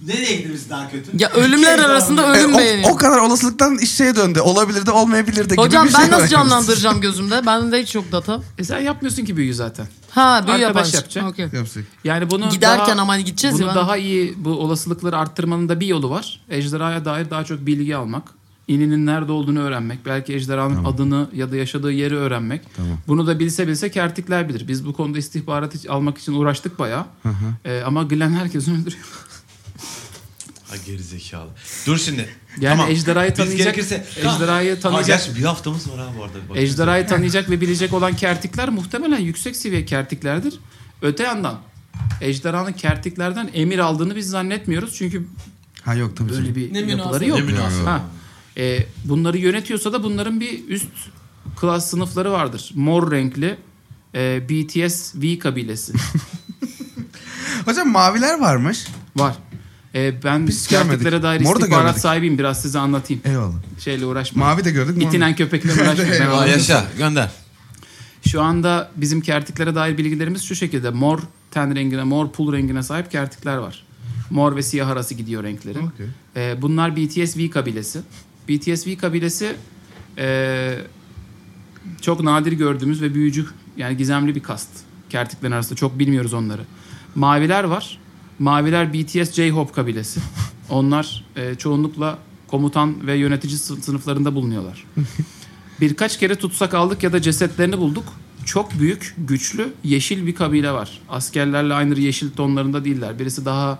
S7: nereye gidilmesi daha kötü?
S5: Ya ölümler
S7: Ejderhanın-
S5: arasında
S4: E,
S5: ölüm beğeni.
S4: o, o kadar olasılıktan iş şeye döndü. Olabilir de olmayabilir de gibi
S5: Hocam
S4: bir şey
S5: ben nasıl
S4: var.
S5: canlandıracağım gözümde? Bende hiç yok data.
S1: E sen yapmıyorsun ki büyüyü zaten.
S5: Ha büyü
S1: Arkadaş
S5: yaparsın.
S1: yapacak.
S5: Okey.
S4: Yapsak.
S1: Yani bunu
S5: Giderken
S1: daha-
S5: ama hani gideceğiz
S1: bunu
S5: ya. ben-
S1: daha iyi bu olasılıkları arttırmanın da bir yolu var. Ejderhaya dair daha çok bilgi almak. İninin nerede olduğunu öğrenmek. Belki ejderhanın adını ya da yaşadığı yeri öğrenmek. Bunu da bilse bilse kertikler bilir. Biz bu konuda istihbarat iç- almak için uğraştık bayağı. Ee, ama Glenn herkesi öldürüyor.
S6: Ha gerizekalı. Dur şimdi.
S1: Yani
S6: Tamam.
S1: ejderhayı
S6: Biz
S1: tanıyacak.
S6: gerekirse-
S1: Ejderhayı
S6: Ha,
S1: tanıyacak.
S6: gerçi bir haftamız var ha bu arada. bir bakacağız.
S1: Ejderhayı tanıyacak ve bilecek olan kertikler muhtemelen yüksek seviye kertiklerdir. Öte yandan ejderhanın kertiklerden emir aldığını biz zannetmiyoruz. Çünkü
S4: Ha yok tabii.
S1: Böyle
S4: canım.
S1: bir
S5: Ne
S1: yapıları
S5: münasebet.
S1: yok.
S3: Ne münasebet.
S1: Ha. Ee, bunları yönetiyorsa da bunların bir üst klas sınıfları vardır. Mor renkli e, BTS V kabilesi
S4: Hocam maviler varmış.
S1: var. Ee, ben
S4: Biz
S1: kertiklere
S4: görmedik.
S1: dair
S4: Moru da
S1: istihbarat
S4: görmedik.
S1: sahibiyim. Biraz size anlatayım.
S4: Eyvallah.
S1: Şeyle uğraşmayın.
S4: Mavi de gördük. mor-
S1: İtinen köpekle
S4: Eyvallah,
S3: Aa,
S1: uğraşmayın.
S3: yaşa gönder.
S1: Şu anda bizim kertiklere dair bilgilerimiz şu şekilde. Mor ten rengine, mor pul rengine sahip kertikler var. Mor ve siyah arası gidiyor renkleri.
S4: Okey.
S1: Ee, bunlar BTS V kabilesi. BTS V kabilesi ee, çok nadir gördüğümüz ve büyücü yani gizemli bir kast. Kertiklerin arasında çok bilmiyoruz onları. Maviler var. Maviler BTS J-Hope kabilesi. Onlar e, çoğunlukla komutan ve yönetici sı- sınıflarında bulunuyorlar. Birkaç kere tutsak aldık ya da cesetlerini bulduk. Çok büyük, güçlü, yeşil bir kabile var. Askerlerle aynı yeşil tonlarında değiller. Birisi daha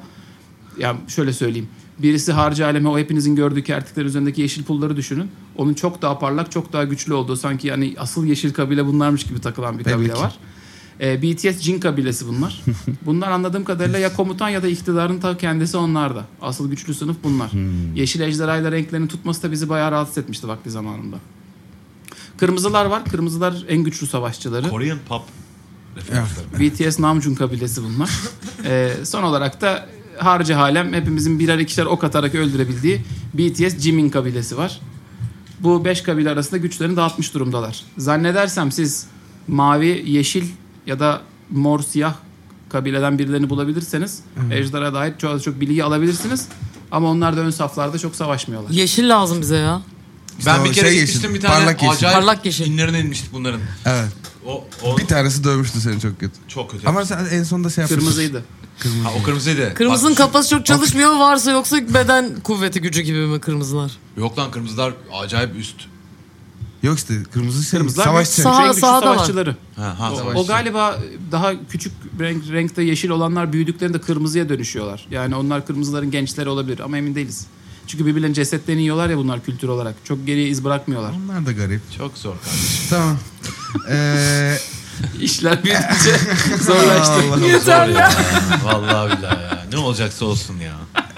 S1: yani şöyle söyleyeyim. Birisi harcı aleme o hepinizin gördüğü kertikler üzerindeki yeşil pulları düşünün. Onun çok daha parlak, çok daha güçlü olduğu sanki yani asıl yeşil kabile bunlarmış gibi takılan bir
S4: Belli
S1: kabile
S4: ki.
S1: var. Ee, BTS Jin kabilesi bunlar. bunlar anladığım kadarıyla ya komutan ya da iktidarın ta kendisi onlarda. Asıl güçlü sınıf bunlar. Yeşil ejderhayla renklerini tutması da bizi bayağı rahatsız etmişti vakti zamanında. Kırmızılar var. Kırmızılar en güçlü savaşçıları.
S6: Korean pop. referansları.
S1: BTS Namjoon kabilesi bunlar. Ee, son olarak da harcı halem hepimizin birer ikişer ok atarak öldürebildiği BTS Jimin kabilesi var. Bu beş kabile arasında güçlerini dağıtmış durumdalar. Zannedersem siz mavi, yeşil ya da mor, siyah kabileden birilerini bulabilirseniz ejderha dair çok çok bilgi alabilirsiniz. Ama onlar da ön saflarda çok savaşmıyorlar.
S5: Yeşil lazım bize ya.
S3: ben
S4: o
S3: bir kere
S4: şey
S3: gitmiştim
S4: yeşil,
S3: bir tane
S4: parlak yeşil.
S3: acayip
S5: Parlak yeşil.
S3: inlerine inmiştik bunların.
S4: Evet.
S3: O, o
S4: Bir tanesi dövmüştü seni çok kötü.
S3: çok kötü.
S4: Ama sen en sonunda şey yapmışsın.
S1: Kırmızıydı.
S3: ha, o kırmızıydı.
S5: Kırmızının
S3: Bak,
S5: kafası çok çalışmıyor varsa yoksa beden kuvveti gücü gibi mi kırmızılar?
S3: Yok lan kırmızılar acayip üst.
S4: Yok işte kırmızı şey.
S1: Kırmızılar
S4: Savaşçı.
S5: Sağ-
S1: en güçlü
S5: sahada var.
S1: savaşçıları.
S3: Ha, ha,
S1: O,
S3: savaşçı.
S1: o galiba daha küçük renk, renkte yeşil olanlar büyüdüklerinde kırmızıya dönüşüyorlar. Yani onlar kırmızıların gençleri olabilir ama emin değiliz. Çünkü birbirlerinin cesetlerini yiyorlar ya bunlar kültür olarak. Çok geriye iz bırakmıyorlar.
S4: Onlar da garip.
S3: Çok zor kardeşim.
S4: Tamam. Ee,
S1: İşler büyüdükçe zorlaştı.
S4: Allah.
S5: Yeter ya.
S3: Vallahi billahi ya. Ne olacaksa olsun ya.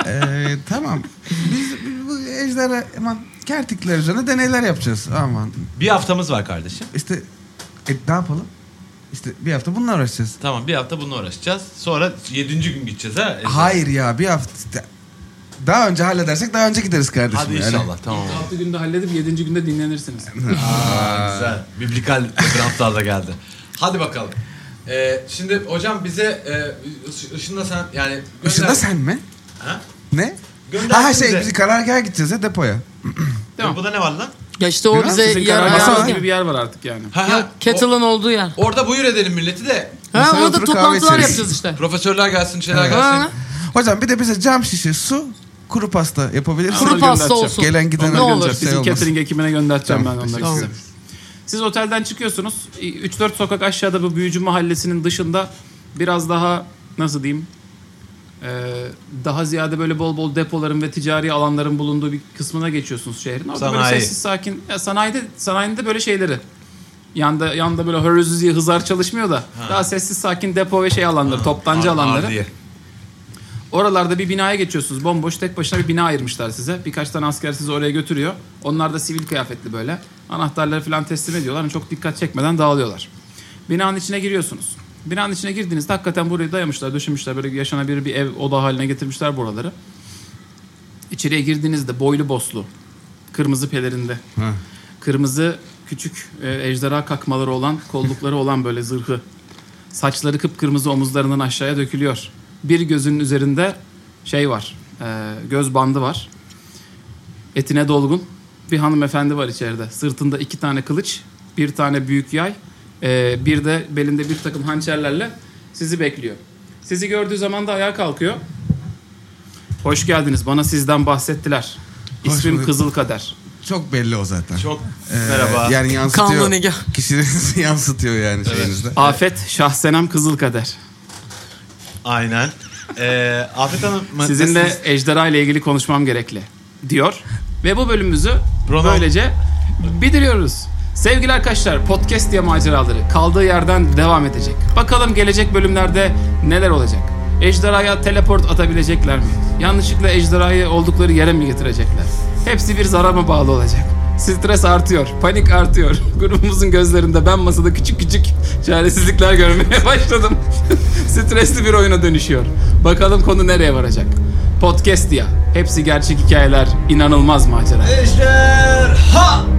S4: Ee, tamam. Biz bu ejderha aman kertikler üzerine deneyler yapacağız. Aman
S6: Bir haftamız var kardeşim.
S4: işte e, ne yapalım? İşte bir hafta bununla uğraşacağız.
S3: Tamam bir hafta bununla uğraşacağız. Sonra yedinci gün gideceğiz ha.
S4: Hayır ya bir hafta. Daha önce halledersek daha önce gideriz kardeşim.
S3: Hadi
S4: yani.
S3: inşallah tamam.
S1: 6 günde halledip 7. günde dinlenirsiniz.
S3: Aa, güzel. Biblikal grantlar da geldi. Hadi bakalım. Ee, şimdi hocam bize e, Iş- Işın'la sen yani gönder.
S4: Işın'da sen mi?
S3: Ha?
S4: Ne?
S3: Gönder
S4: Ha
S3: bize.
S4: şey biz karargaha gideceğiz ya depoya.
S1: Tamam.
S3: Bu da ne var lan?
S5: Ya işte o
S4: Biraz
S5: bize
S1: Sizin
S5: yer
S4: masa
S1: karargahınız
S4: var.
S1: gibi bir yer var artık yani.
S3: Ha, ha. O-
S5: Kettle'ın olduğu yer.
S3: orada buyur edelim milleti de.
S5: Ha
S4: Masaya
S5: orada
S4: oturup kahve
S5: toplantılar
S4: içeriz.
S5: yapacağız işte.
S3: Profesörler gelsin, şeyler
S5: Ha,
S3: gelsin.
S4: Hocam bir de bize cam şişe, su, kuru pasta yapabiliriz.
S5: Kuru
S1: Sana
S5: pasta
S1: göndereceğim.
S5: olsun.
S4: Gelen giden
S5: Ne olur.
S4: şey
S1: Bizim
S4: olmaz.
S1: catering ekibine göndereceğim
S4: Tamam,
S1: ben onları
S4: teşekkür
S1: size. Siz otelden çıkıyorsunuz. 3-4 sokak aşağıda bu büyücü mahallesinin dışında biraz daha nasıl diyeyim ee, daha ziyade böyle bol bol depoların ve ticari alanların bulunduğu bir kısmına geçiyorsunuz şehrin. Orada böyle
S6: Sanayi.
S1: sessiz sakin. Ya sanayide, sanayinde böyle şeyleri. Yanda yanda böyle hırız diye hızar çalışmıyor da daha sessiz sakin depo ve şey alanları, toptancı alanları.
S6: Ardiye.
S1: Oralarda bir binaya geçiyorsunuz. Bomboş tek başına bir bina ayırmışlar size. Birkaç tane asker sizi oraya götürüyor. Onlar da sivil kıyafetli böyle. Anahtarları falan teslim ediyorlar. ama Çok dikkat çekmeden dağılıyorlar. Binanın içine giriyorsunuz. Binanın içine girdiğinizde hakikaten burayı dayamışlar, döşemişler. Böyle yaşanabilir bir ev, oda haline getirmişler buraları. İçeriye girdiğinizde boylu boslu, kırmızı pelerinde, kırmızı küçük e, ejderha kakmaları olan, kollukları olan böyle zırhı Saçları kıpkırmızı omuzlarından aşağıya dökülüyor. Bir gözünün üzerinde şey var. e, göz bandı var. Etine dolgun. Bir hanımefendi var içeride. Sırtında iki tane kılıç, bir tane büyük yay, e, bir de belinde bir takım hançerlerle sizi bekliyor. Sizi gördüğü zaman da ayağa kalkıyor. Hoş geldiniz. Bana sizden bahsettiler.
S4: Hoş
S1: İsmim
S4: bulduk.
S1: Kızıl Kader.
S4: Çok belli o zaten.
S6: Çok
S4: Ee,
S6: merhaba.
S4: Yani
S5: Kanlı
S4: yansıtıyor.
S5: Nigah.
S4: Kişiliğinizi yansıtıyor yani şeyinizde.
S1: Afet Şahsenem Kızıl Kader.
S6: Aynen. Ee, Afet Hanım mı-
S1: Sizinle
S6: nasılsınız?
S1: ejderha ile ilgili konuşmam gerekli diyor. Ve bu bölümümüzü
S6: Pronom.
S1: böylece bitiriyoruz. Sevgili arkadaşlar podcast diye maceraları kaldığı yerden devam edecek. Bakalım gelecek bölümlerde neler olacak? Ejderhaya teleport atabilecekler mi? Yanlışlıkla ejderhayı oldukları yere mi getirecekler? Hepsi bir zarar mı bağlı olacak? Stres artıyor, panik artıyor. Grubumuzun gözlerinde ben masada küçük küçük çaresizlikler görmeye başladım. Stresli bir oyuna dönüşüyor. Bakalım konu nereye varacak? Podcast ya. Hepsi gerçek hikayeler, inanılmaz macera.
S3: Ejderha!